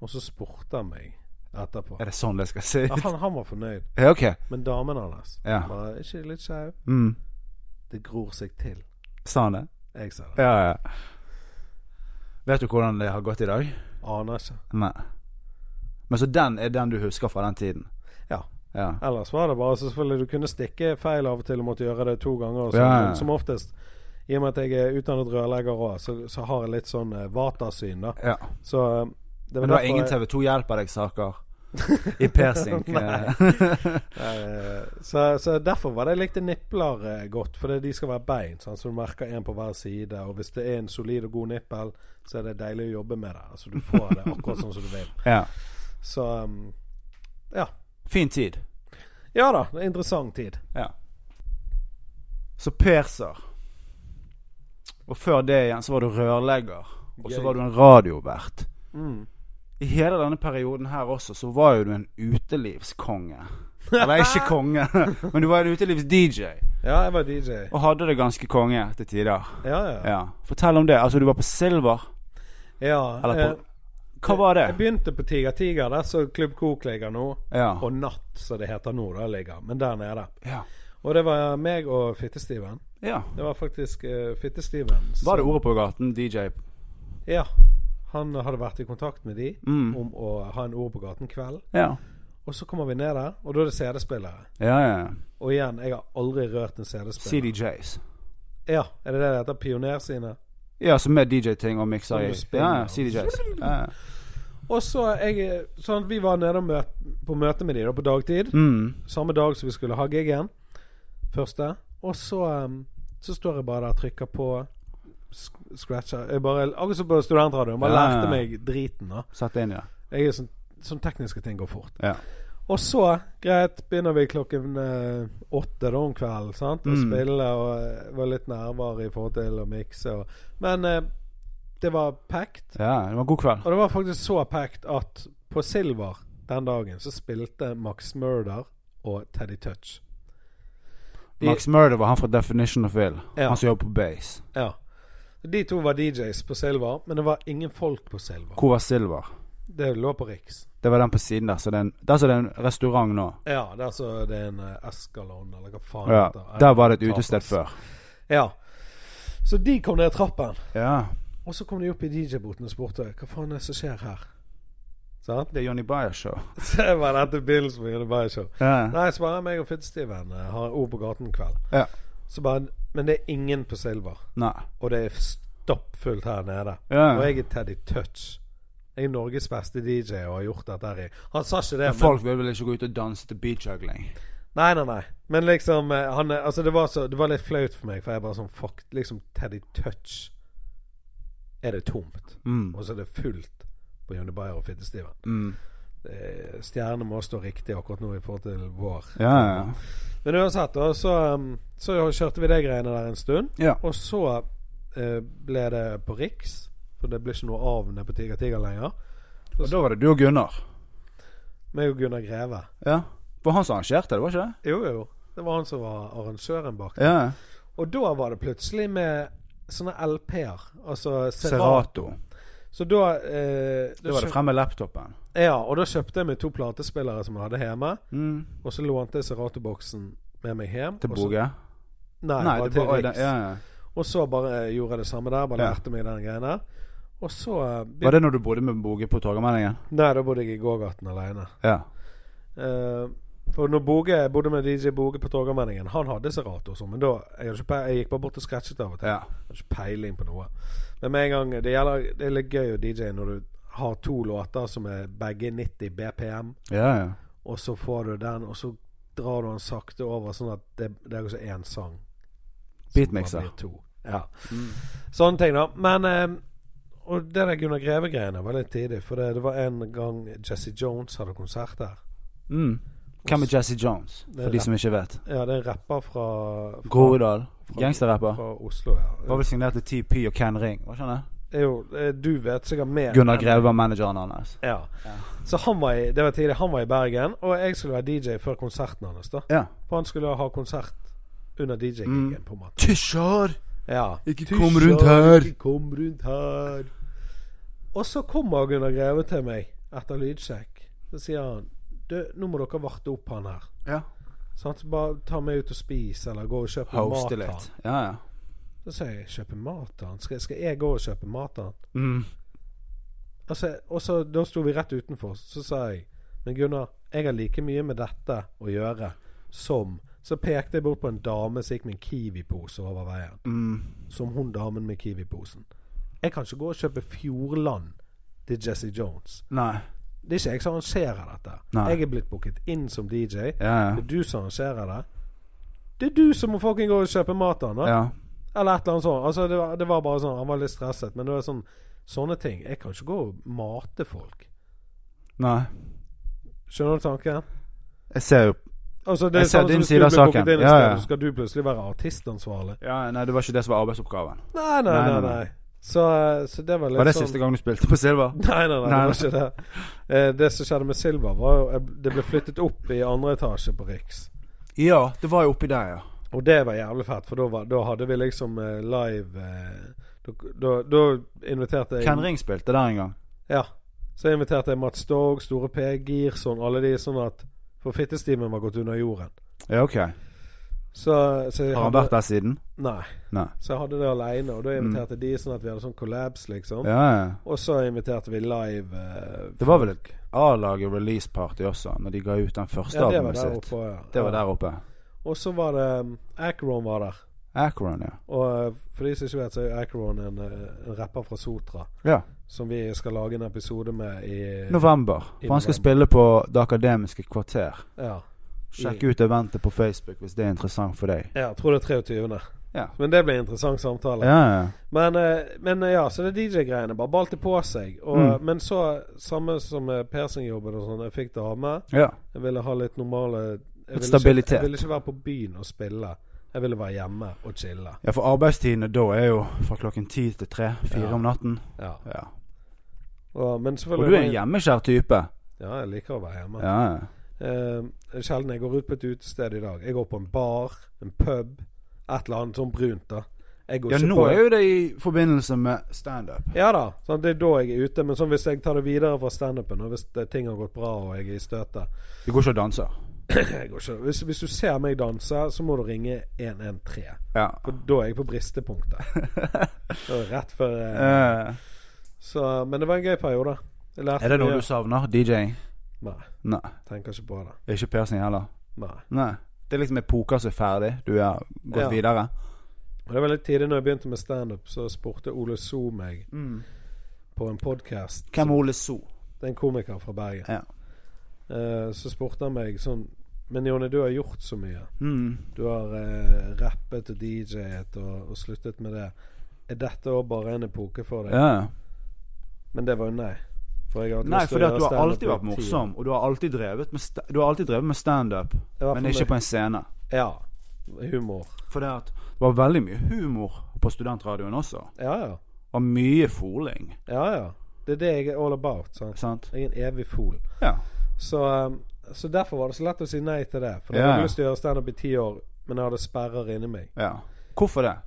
A: Og så spurte han meg etterpå.
B: Er det sånn det skal se
A: Ja,
B: ut?
A: han, han var fornøyd,
B: Ja, ok.
A: men damen hans
B: Ja.
A: var ikke litt skeiv.
B: Mm.
A: Det gror seg til.
B: Sa han det?
A: Jeg sa det.
B: Ja, ja. Vet du hvordan det har gått i dag?
A: Aner ikke.
B: Nei. Men så den er den du husker fra den tiden?
A: Ja.
B: Ja.
A: Ellers var det bare så selvfølgelig Du kunne stikke feil av og til og måtte gjøre det to ganger. Og sånn,
B: Ja, ja.
A: Men som oftest, i og med at jeg er utdannet rørlegger òg, så, så har jeg litt sånn eh, Vata-syn, da.
B: ja.
A: Så eh, det
B: Men det var
A: derfor
B: ingen
A: jeg-
B: TV 2 hjelper deg-saker i piercing?
A: Nei. eh, så, så derfor var det jeg likte nipler eh, godt, for det, de skal være bein. sant, Så du merker én på hver side. Og hvis det er en solid og god nippel, så er det deilig å jobbe med det. Altså Du får det akkurat sånn som du vil.
B: ja.
A: Så um, ja.
B: Fin tid.
A: Ja da, det er interessant tid.
B: Ja. Så perser. Og før det igjen så var du rørlegger. Og så
A: Gøy.
B: var du en radiovert.
A: Mm.
B: I hele denne perioden her også så var jo du en utelivskonge. Eller ikke konge, men du var en utelivs-DJ.
A: Ja, jeg var DJ.
B: Og hadde det ganske konge til tider.
A: Ja, ja.
B: Ja. Fortell om det. Altså, du var på Silver.
A: Ja,
B: Eller
A: eh,
B: på Hva var
A: Jeg
B: det?
A: begynte på Tiger Tiger, der så Klubb Kok ligger nå.
B: Ja.
A: Og Natt, som det heter nå, da ligger. Men der nede.
B: ja.
A: Og det var meg og Fitte-Steven.
B: ja.
A: Det var faktisk uh, Fitte-Steven som-
B: Var det ordet på gaten? DJ?
A: Ja. Han hadde vært i kontakt med de
B: Mm.
A: om å ha en Ord på gaten-kveld.
B: Ja.
A: Og så kommer vi ned der, og da er det CD-spillere.
B: Ja, ja.
A: Og igjen, jeg har aldri rørt en CD-spiller.
B: CDJs.
A: Ja, er det det det heter? Pioner sine?
B: Ja, som er DJ-ting og mikser
A: Som du
B: i.
A: spiller.
B: Ja, ja, CDJs. Ja, ja.
A: Og så jeg Sånn, vi var nede og møt, på møte med de da på dagtid.
B: Mm.
A: Samme dag som vi skulle ha giggen. Første. Og så, um, så står jeg bare der og trykker på sk- scratcher. Jeg bare, akkurat som på studentradioen. Bare
B: Ja, ja, ja.
A: lærte meg driten. da
B: Satt inn, ja.
A: Jeg er sånn, sånn tekniske ting går fort.
B: Ja.
A: Og så, greit, begynner vi klokken eh, åtte da om kvelden. sant Og
B: Mm.
A: spille og eh, var litt nerver i forhold til å mikse. Og, men eh, det var packed.
B: ja. Det var en god kveld.
A: Og det var faktisk så packed at på Silver den dagen så spilte Max Murder og Teddy Touch. De-
B: Max Murder var han fra Definition of Ill.
A: Ja.
B: Han som jobber på Base.
A: Ja. De to var DJs på Silver, men det var ingen folk på Silver.
B: Hvor var Silver?
A: Det lå på Riks.
B: Det var den på siden der. Så det er en, der så det er en restaurant nå.
A: Ja, der så det er en eh, Escalon, eller hva faen
B: Ja,
A: heter.
B: der var det et utested før.
A: Ja. Så de kom ned trappen,
B: Ja.
A: og så kom de opp i DJ-boten og spurte hva faen er det som skjer her. Sant?
B: Det er Johnny Bayer Show.
A: Så var dette Bills som gjorde bare show.
B: Ja.
A: Nei, så bare meg og Fitt-Steven eh, har ord på gaten i kveld.
B: Ja.
A: Så bare Men det er ingen på Silver,
B: Nei.
A: og det er stappfullt her nede. Og
B: Ja.
A: jeg er Teddy Touch. Jeg er Norges beste DJ og har gjort dette her i Han sa ikke det,
B: Men Folk vil vel ikke gå ut og danse til beatjuggling?
A: men Nei, nei, nei. Men liksom eh, han, eh, altså det, var så, det var litt flaut for meg, for jeg bare sånn Fuck, liksom Teddy Touch er det tomt.
B: Mm.
A: Og så er det fullt på Johnny Bayer og Fitte-Steven.
B: Mm.
A: Eh, Stjerne må stå riktig akkurat nå i forhold til vår.
B: Ja, ja,
A: Men uansett, da, så, um, så kjørte vi de greiene der en stund.
B: ja.
A: Og så eh, ble det på Riks, for det ble ikke noe av nede på Tiger Tiger lenger.
B: Og da var det du og Gunnar.
A: Meg og Gunnar Greve.
B: Ja. Var han som arrangerte det, var ikke det?
A: Jo, jo. Det var han som var arrangøren bak det.
B: Ja.
A: Og da var det plutselig med sånne LP-er. Altså Serat.
B: Serato.
A: Så da, eh, da
B: Da var det
A: kjøp-
B: fremme laptopen.
A: Ja, og da kjøpte jeg meg to platespillere som jeg hadde hjemme.
B: Mm.
A: Og så lånte jeg Serato-boksen med meg hjem.
B: Til
A: og så-
B: Boge?
A: Nei,
B: Nei,
A: bare
B: det var
A: til
B: den-
A: Riks.
B: ja, ja.
A: Og så bare eh, gjorde jeg det samme der. Bare
B: Ja.
A: lærte meg den greia der. Og så eh, be-
B: Var det når du bodde med Boge på Torgallmenningen?
A: Nei, da bodde jeg i gågaten aleine.
B: Ja.
A: Eh, for når Boge jeg bodde med DJ Boge på Torgallmenningen, han hadde Serato og sånn, men da jeg, hadde ikke pe- jeg gikk bare bort og scratchet av og til.
B: ja.
A: Jeg har ikke peiling på noe. Men med en gang Det, gjelder, det er litt gøy å DJ når du har to låter som er begge 90 BPM,
B: Ja, ja.
A: og så får du den, og så drar du den sakte over, sånn at det, det er jo ikke én sang. som
B: Beatmixer.
A: bare blir to. Ja.
B: Mm.
A: Sånne ting, da. Men eh, Og det der Gunnar Greve-greiene var litt tidlig, for det, det var en gang Jesse Jones hadde konsert der.
B: Mm. Hvem er Jesse Jones,
A: Det er
B: for de
A: rapp-
B: som ikke vet?
A: Ja, det er en rapper fra, fra,
B: Groruddal. Gangsterrapper.
A: fra Oslo,
B: Var
A: ja.
B: vel signert til TP og Ken Ring, var ikke han det?
A: Det er Jo, eh, du vet sikkert mer.
B: Gunnar
A: enn-
B: Greve var manageren hans.
A: Ja. Så han var i, det var tidlig, han var i Bergen, og jeg skulle være DJ før konserten hans. da
B: Ja.
A: For han skulle ha konsert under DJ-gigen,
B: Mm.
A: på en måte.
B: Tysjar!
A: Ja.
B: Ikke
A: Tysj,
B: kom rundt
A: ja,
B: her.
A: Ikke kom rundt her! Og så kommer Gunnar Greve til meg etter lydsjekk. Så sier han Du, nå må dere varte opp han her.
B: Ja.
A: Sant? Så bare ta meg ut og spis, eller gå og kjøpe mat
B: Hoste
A: til
B: litt.
A: han.
B: Ja, ja.
A: Så sier jeg kjøpe mat til han? Skal, skal jeg gå og kjøpe mat til han?
B: Mm.
A: Altså, og så Da sto vi rett utenfor, så sa jeg Men Gunnar, jeg har like mye med dette å gjøre som Så pekte jeg bort på en dame som gikk med en Kiwi-pose over veien.
B: Mm.
A: Som hun damen med Kiwi-posen. Jeg kan ikke gå og kjøpe Fjordland til Jesse Jones.
B: Nei.
A: Det er ikke jeg som arrangerer dette.
B: Nei.
A: Jeg er blitt booket inn som DJ.
B: Ja,
A: Det er du som arrangerer det. Det er du som må fucking gå og kjøpe mat av
B: ja.
A: han, da.
B: ja.
A: Eller et eller annet sånt. Altså, det, var, det var bare sånn Han var litt stresset. Men det var sånn Sånne ting. Jeg kan ikke gå og mate folk.
B: Nei.
A: Skjønner du tanken?
B: Jeg ser jo
A: Altså, det er
B: Jeg
A: sånn
B: ser
A: som
B: din
A: hvis du
B: side av
A: blir
B: saken.
A: booket inn et
B: Ja,
A: sted,
B: ja.
A: så skal du plutselig være artistansvarlig.
B: ja, Nei, det var ikke det som var arbeidsoppgaven.
A: Nei, nei,
B: Nei,
A: nei.
B: nei,
A: nei,
B: nei.
A: Så, så det var litt
B: Var det
A: sånn
B: siste gang du spilte på Silver?
A: Nei, nei, nei,
B: Nei,
A: det var ikke det. Eh, det som skjedde med Silva, var jo jeg- Det ble flyttet opp i andre etasje på Riks.
B: Ja, det var jo oppi der, ja.
A: Og det var jævlig fett, for da, var, da hadde vi liksom eh, live eh, da- da- Da inviterte jeg
B: Ken Ring spilte der en gang.
A: Ja. Så inviterte jeg Mats Stog, Store P, Girson, alle de sånn at For fittestimen var gått under jorden.
B: Ja, ok.
A: Så, så jeg
B: Har han
A: hadde-
B: vært der siden?
A: Nei.
B: Nei.
A: Så jeg hadde det aleine, og da inviterte de sånn at vi hadde sånn collabs, liksom.
B: Ja, ja.
A: Og så inviterte vi live eh,
B: Det var vel et A-laget release party også, når de ga ut den første
A: ja, det var
B: albumet
A: der
B: sitt.
A: oppe. Ja.
B: Det var der oppe.
A: Og så var det um, Akron var der.
B: Akron, ja.
A: Og eh, for de som ikke vet, så er Akron en, eh, en rapper fra Sotra
B: ja.
A: som vi skal lage en episode med i
B: November.
A: Eh, I
B: For han skal
A: november.
B: spille på Det akademiske kvarter.
A: Ja.
B: Sjekk ut eventet på Facebook hvis det er interessant for deg.
A: ja, jeg tror det er 23.
B: Ja.
A: Men det blir en interessant samtale.
B: Ja, ja.
A: Men, eh, men eh, ja, så det DJ-greiene bare balte på seg. Og, uh,
B: Mm.
A: Men så, samme som med piercingjobben og sånn, jeg fikk det av meg.
B: ja.
A: Jeg ville ha litt normale jeg ville
B: stabilitet.
A: Ikke, jeg ville ikke være på byen og spille. Jeg ville være hjemme og chille.
B: ja for arbeidstidene da er jo fra klokken ti til tre, fire
A: Ja.
B: om natten.
A: Ja.
B: Ja.
A: Og, men
B: Og
A: selvfølgelig
B: du er en hjemmeskjær type.
A: Ja, jeg liker å være hjemme.
B: Ja, ja.
A: Eh, sjelden jeg går ut på et utested i dag. Jeg går på en bar, en pub, et eller annet sånn brunt, da. Jeg går
B: ja
A: ikke
B: nå
A: på
B: er jo det i forbindelse med standup.
A: Ja da, sånn, det er da jeg er ute. Men sånn hvis jeg tar det videre fra standupen, og hvis eh, ting har gått bra og jeg er i støtet
B: Du går ikke og danser.
A: Jeg går ikke. Hvis, hvis du ser meg danse, så må du ringe 113.
B: Ja.
A: For da er jeg på bristepunktet. Det var Rett før eh,
B: Eh,
A: Så, Men det var en gøy periode. Jeg lærte
B: er det noe
A: mye.
B: du savner? DJ-ing?
A: Nei,
B: Nei.
A: tenker ikke på det.
B: Ikke piercing heller?
A: Nei.
B: Nei. Det er liksom et poker som er ferdig. Du har gått
A: Ja.
B: videre.
A: Og det var litt tidlig når jeg begynte med standup, så spurte Ole So meg
B: Mm.
A: på en podkast.
B: Hvem er Ole So?
A: Det er en komiker fra Bergen.
B: Ja.
A: Eh, så spurte han meg sånn Men Jonny, du har gjort så mye.
B: Mm.
A: Du har eh, rappet og DJ-et og, og sluttet med det. Er dette òg bare en epoke for deg?
B: Ja, ja.
A: Men det var jo nei. For jeg har hatt
B: Nei,
A: lyst til
B: fordi
A: å
B: at
A: gjøre
B: du har
A: standup
B: alltid
A: i
B: vært
A: ti år.
B: morsom, og du har alltid drevet med, sta- du har alltid drevet med standup,
A: I hvert
B: men
A: fall
B: ikke
A: det.
B: på en scene.
A: Ja. Humor.
B: For det, at det var veldig mye humor på studentradioen også,
A: Ja, ja.
B: og mye foling.
A: Ja, ja. Det er det jeg er all about. Sant?
B: Sant?
A: Jeg er en evig fol.
B: Ja.
A: Så, um, så derfor var det så lett å si nei til det. For jeg
B: Ja.
A: hadde lyst til å gjøre standup i ti år, men jeg hadde sperrer inni meg.
B: ja. Hvorfor det?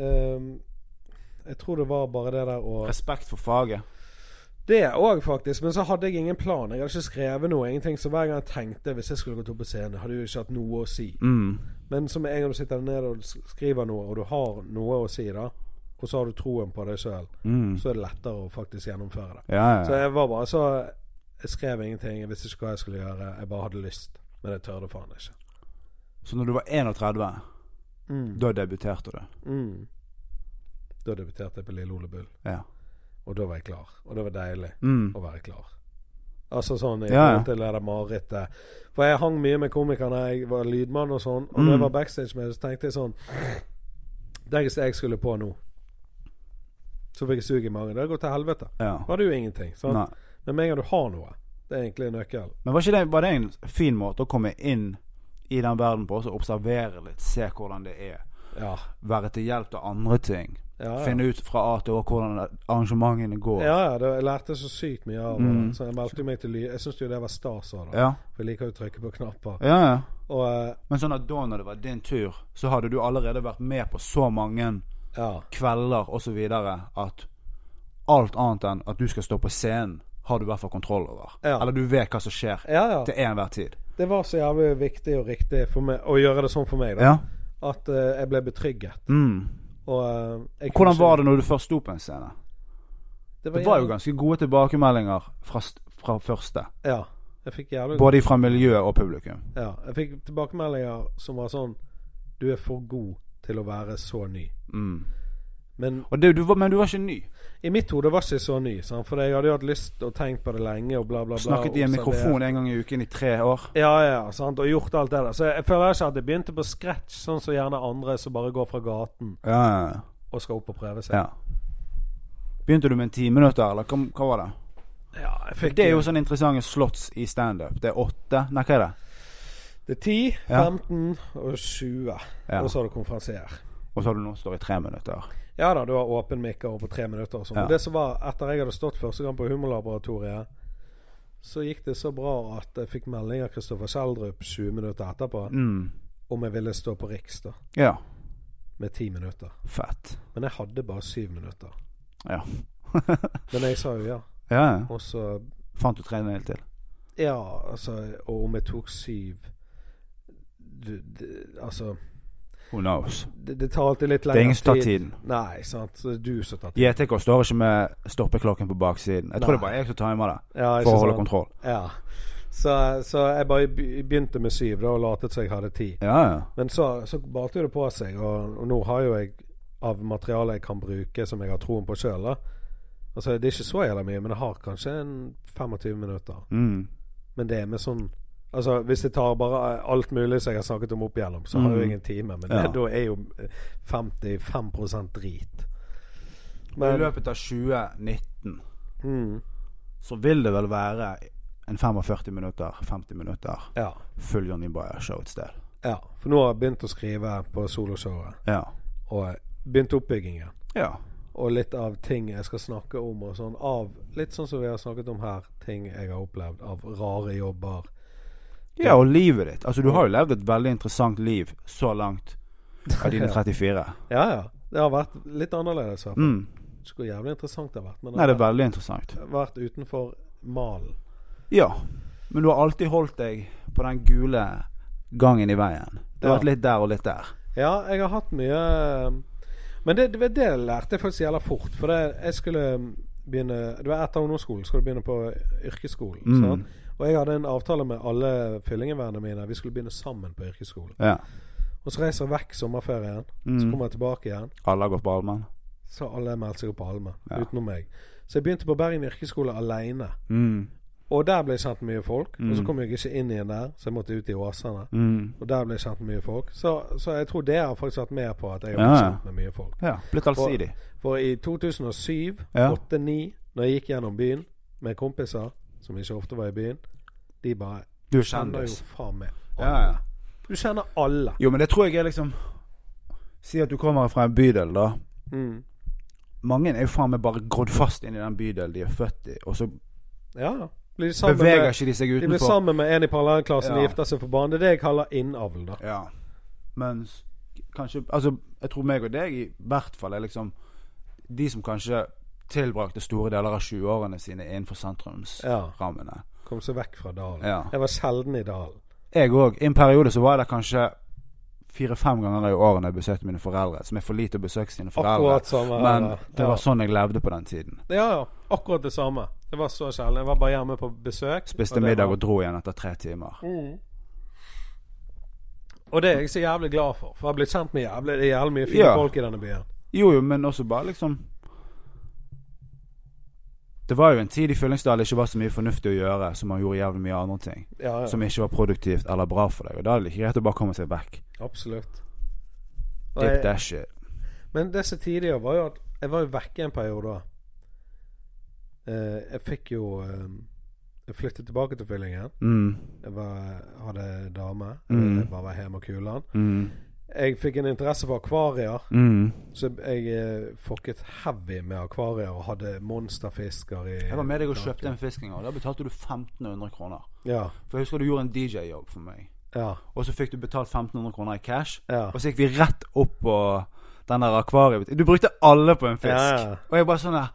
A: Um, jeg tror det var bare det der å
B: Respekt for faget.
A: Det òg, faktisk. Men så hadde jeg ingen plan. Jeg hadde ikke skrevet noe. Ingenting. Så hver gang jeg tenkte hvis jeg skulle gått opp på scenen, hadde jeg jo ikke hatt noe å si.
B: Mm.
A: Men som en gang du sitter ned og s- skriver noe, og du har noe å si, da, og så har du troen på deg sjøl,
B: Mm.
A: så er det lettere å faktisk gjennomføre det.
B: Ja,
A: Så
B: ja.
A: jeg var bare så Jeg skrev ingenting. Jeg visste ikke hva jeg skulle gjøre. Jeg bare hadde lyst. Men jeg tørde faen ikke.
B: Så når du var 31,
A: Mm.
B: da debuterte du?
A: Mm. Da debuterte jeg på Lille Ole Bull,
B: Ja.
A: og da var jeg klar. Og det var deilig.
B: Mm.
A: å være klar. Altså sånn i
B: Ja, ja.
A: forhold til det der marerittet. For jeg hang mye med komikerne, jeg var lydmann og sånn. Og
B: Mm.
A: når jeg var backstage med det, så tenkte jeg sånn Det er jeg skulle på nå. Så fikk jeg sug i magen. Det har gått til helvete.
B: ja.
A: Da har du jo ingenting. Sant?
B: Nei.
A: Men med en gang du har noe, det er egentlig nøkkelen.
B: Men var, ikke det, var det en fin måte å komme inn i den verden på, også observere litt, se hvordan det er?
A: Ja.
B: Være til hjelp til andre ting?
A: Ja, ja.
B: Finne ut fra A til Å hvordan arrangementene går?
A: Ja, ja, det, jeg lærte så sykt mye av det.
B: Mm.
A: Så jeg meldte meg til lyd. Jeg syns jo det var stas av det.
B: ja.
A: For jeg liker jo å trykke på knapper.
B: ja, ja.
A: Og eh,
B: Men sånn at da når det var din tur, så hadde du allerede vært med på så mange
A: ja.
B: kvelder osv. at alt annet enn at du skal stå på scenen, har du i hvert fall kontroll over.
A: Ja.
B: Eller du vet hva som skjer
A: Ja, ja.
B: til enhver tid.
A: Det var så jævlig viktig og riktig for meg å gjøre det sånn for meg, da.
B: Ja.
A: At eh, jeg ble betrygget.
B: Mm.
A: Og, eh, jeg
B: Hvordan var det når du først sto på en scene?
A: Det
B: Det var jo ganske gode tilbakemeldinger fra, st- fra første.
A: Ja. Jeg fikk jævlig
B: Både fra miljøet og publikum.
A: ja, Jeg fikk tilbakemeldinger som var sånn Du er for god til å være så ny.
B: Mm.
A: Men
B: Og det, du var, men du var ikke ny.
A: i mitt hode var jeg ikke så ny, sant? for jeg hadde jo hatt lyst og tenkt på det lenge og bla, bla, bla.
B: Snakket i en
A: observert.
B: mikrofon en gang i uken i tre år.
A: Ja, ja, sant? og gjort alt det der. Så jeg, jeg føler ikke at jeg begynte på scratch, sånn som gjerne andre som bare går fra gaten
B: Ja, ja, ja.
A: og skal opp og prøve seg.
B: ja. Begynte du med en ti minutter, eller hva, hva var det?
A: Ja, jeg fikk
B: Det er jo sånne interessante slotts i standup. Det er åtte Nei, hva er det?
A: Det er 10,
B: Ja.
A: 15 og 20.
B: Ja.
A: Og så har du konferansier.
B: Og så har du noen som står i tre minutter.
A: Ja da, du har åpen mikker og på tre minutter og sånn.
B: Ja.
A: Men Det som var etter jeg hadde stått første gang på Humorlaboratoriet, så gikk det så bra at jeg fikk melding av Kristoffer Schjelderup 20 minutter etterpå
B: Mm.
A: om jeg ville stå på Riks da
B: Ja.
A: med 10 minutter.
B: Fett.
A: Men jeg hadde bare 7 minutter.
B: Ja.
A: Men jeg sa jo ja.
B: Ja, ja.
A: Og så
B: Fant du tre mil til?
A: Ja, altså Og om jeg tok syv du, det, Altså
B: Who knows?
A: det, det tar alltid litt
B: Det er
A: lengre
B: ingen som tar tiden.
A: Nei, sant. Så det er du som tar tid.
B: JTK står ikke med stoppeklokken på baksiden. Jeg
A: Nei.
B: tror det er bare jeg som timer det.
A: Ja,
B: For
A: ikke
B: å holde
A: sant?
B: kontroll.
A: Ja. Så, så jeg bare be- begynte med syv da, og latet som jeg hadde ti.
B: Ja, ja.
A: Men så, så balte jo det på seg, og, og nå har jo jeg av materiale jeg kan bruke som jeg har troen på sjøl. Altså, det er ikke så jævla mye, men jeg har kanskje en 25 minutter.
B: Mm.
A: Men det er med sånn Altså, hvis jeg tar bare alt mulig som jeg har snakket om opp igjennom, så har jeg
B: Mhm.
A: en time. Men
B: Ja.
A: det, da er jo 55 drit.
B: I
A: Men
B: løpet av 2019
A: mm,
B: så vil det vel være en 45 minutter, 50 minutter
A: ja,
B: full Johnny Bayer-show et sted.
A: ja. For nå har jeg begynt å skrive på soloshowet.
B: Ja.
A: og begynt oppbyggingen.
B: ja.
A: Og litt av ting jeg skal snakke om, og sånn av Litt sånn som vi har snakket om her, ting jeg har opplevd av rare jobber.
B: Ja, og livet ditt. Altså, du har jo levd et veldig interessant liv så langt av dine 34.
A: Ja, ja. Det har vært litt annerledes. i hvert fall.
B: Mm.
A: Ikke hvor jævlig interessant det har vært, men
B: Nei, det
A: det
B: er veldig interessant.
A: har vært utenfor malen.
B: Ja. Men du har alltid holdt deg på den gule gangen i veien. Det
A: Ja.
B: har vært litt der og litt der.
A: Ja, jeg har hatt mye Men det, det, det lærte jeg faktisk jævla fort. For det, jeg skulle begynne Du er etter ungdomsskolen, skal du begynne på yrkesskolen.
B: Mm.
A: sant? Og jeg hadde en avtale med alle fyllingevennene mine. Vi skulle begynne sammen på yrkesskolen.
B: Ja.
A: Og så reiser jeg vekk sommerferien. Så
B: Mm.
A: kommer jeg tilbake igjen.
B: Alle har gått på allmenn.
A: Så alle meldte seg opp på Alme,
B: Ja.
A: utenom meg. Så jeg begynte på Bergen yrkesskole aleine.
B: Mm.
A: Og der ble jeg kjent med mye folk. Og så
B: Mm.
A: kom jeg ikke inn igjen der, så jeg måtte ut i Åsane.
B: Mm.
A: Og der ble jeg kjent med mye folk. Så, så jeg tror det har faktisk vært med på at jeg har
B: Ja,
A: blitt
B: ja.
A: kjent med mye folk.
B: Ja, blitt allsidig.
A: For i 2007,
B: Ja.
A: 2008-2009, når jeg gikk gjennom byen med kompiser, som ikke ofte var i byen, de bare
B: Du er
A: kjenner jo
B: kjendis.
A: faen meg
B: Ja,
A: alle.
B: ja.
A: Du kjenner alle.
B: Jo, men det tror jeg er liksom Si at du kommer fra en bydel, da.
A: Mm.
B: Mange er jo faen meg bare grodd fast inn i den bydelen de er født i, og så
A: Ja, ja. Blir de sammen
B: beveger
A: med,
B: ikke de seg
A: de blir
B: utenfor.
A: sammen med en i parallellklassen,
B: Ja.
A: de gifter seg for barn. Det er det jeg kaller innavl, da.
B: Ja. Mens kanskje Altså, jeg tror meg og deg i hvert fall er liksom de som kanskje tilbrakte store deler av 20-årene sine innenfor
A: Ja.
B: sentrumsrammene.
A: Kom seg vekk fra dalen.
B: Ja.
A: Jeg var sjelden i dalen.
B: Jeg òg. I en periode så var jeg der kanskje fire-fem ganger i året når jeg besøkte mine foreldre, som er for lite å besøke sine foreldre.
A: Akkurat samme. her,
B: Men
A: da.
B: det var sånn jeg levde på den tiden.
A: ja. ja, ja. Akkurat det samme. Det var så sjelden. Jeg var bare hjemme på besøk.
B: Spiste
A: det
B: middag
A: var-
B: og dro igjen etter tre timer.
A: Mm. Og det er jeg så jævlig glad for, for jeg har blitt kjent med jævlig, det er jævlig mye fine
B: Ja.
A: folk i denne byen.
B: Jo jo, men også bare liksom Det var jo en tid i Fyllingsdal det ikke var så mye fornuftig å gjøre, så man gjorde jævlig mye andre ting
A: Ja, ja.
B: som ikke var produktivt eller bra for deg. Og da er det like greit å bare komme seg vekk.
A: Absolutt. Og
B: Dip
A: jeg,
B: that shit.
A: men det som tidligere var jo at jeg var jo vekke en periode. Eh, jeg fikk jo eh, Jeg flyttet tilbake til fyllingen.
B: Mm.
A: Jeg var, hadde dame.
B: Mm.
A: Jeg bare var hjemme og kulan.
B: Mm.
A: Jeg fikk en interesse for akvarier.
B: Mm.
A: Så jeg eh, fucket heavy med akvarier og hadde monsterfisker i
B: Jeg var med deg og kjøpte en fisk en gang. Da betalte du 1500 kroner.
A: Ja.
B: For jeg husker du gjorde en DJ-jobb for meg.
A: Ja.
B: Og så fikk du betalt 1500 kroner i cash.
A: ja.
B: Og så gikk vi rett opp på den der akvariet. Du brukte alle på en fisk.
A: Ja, ja.
B: Og jeg bare sånn der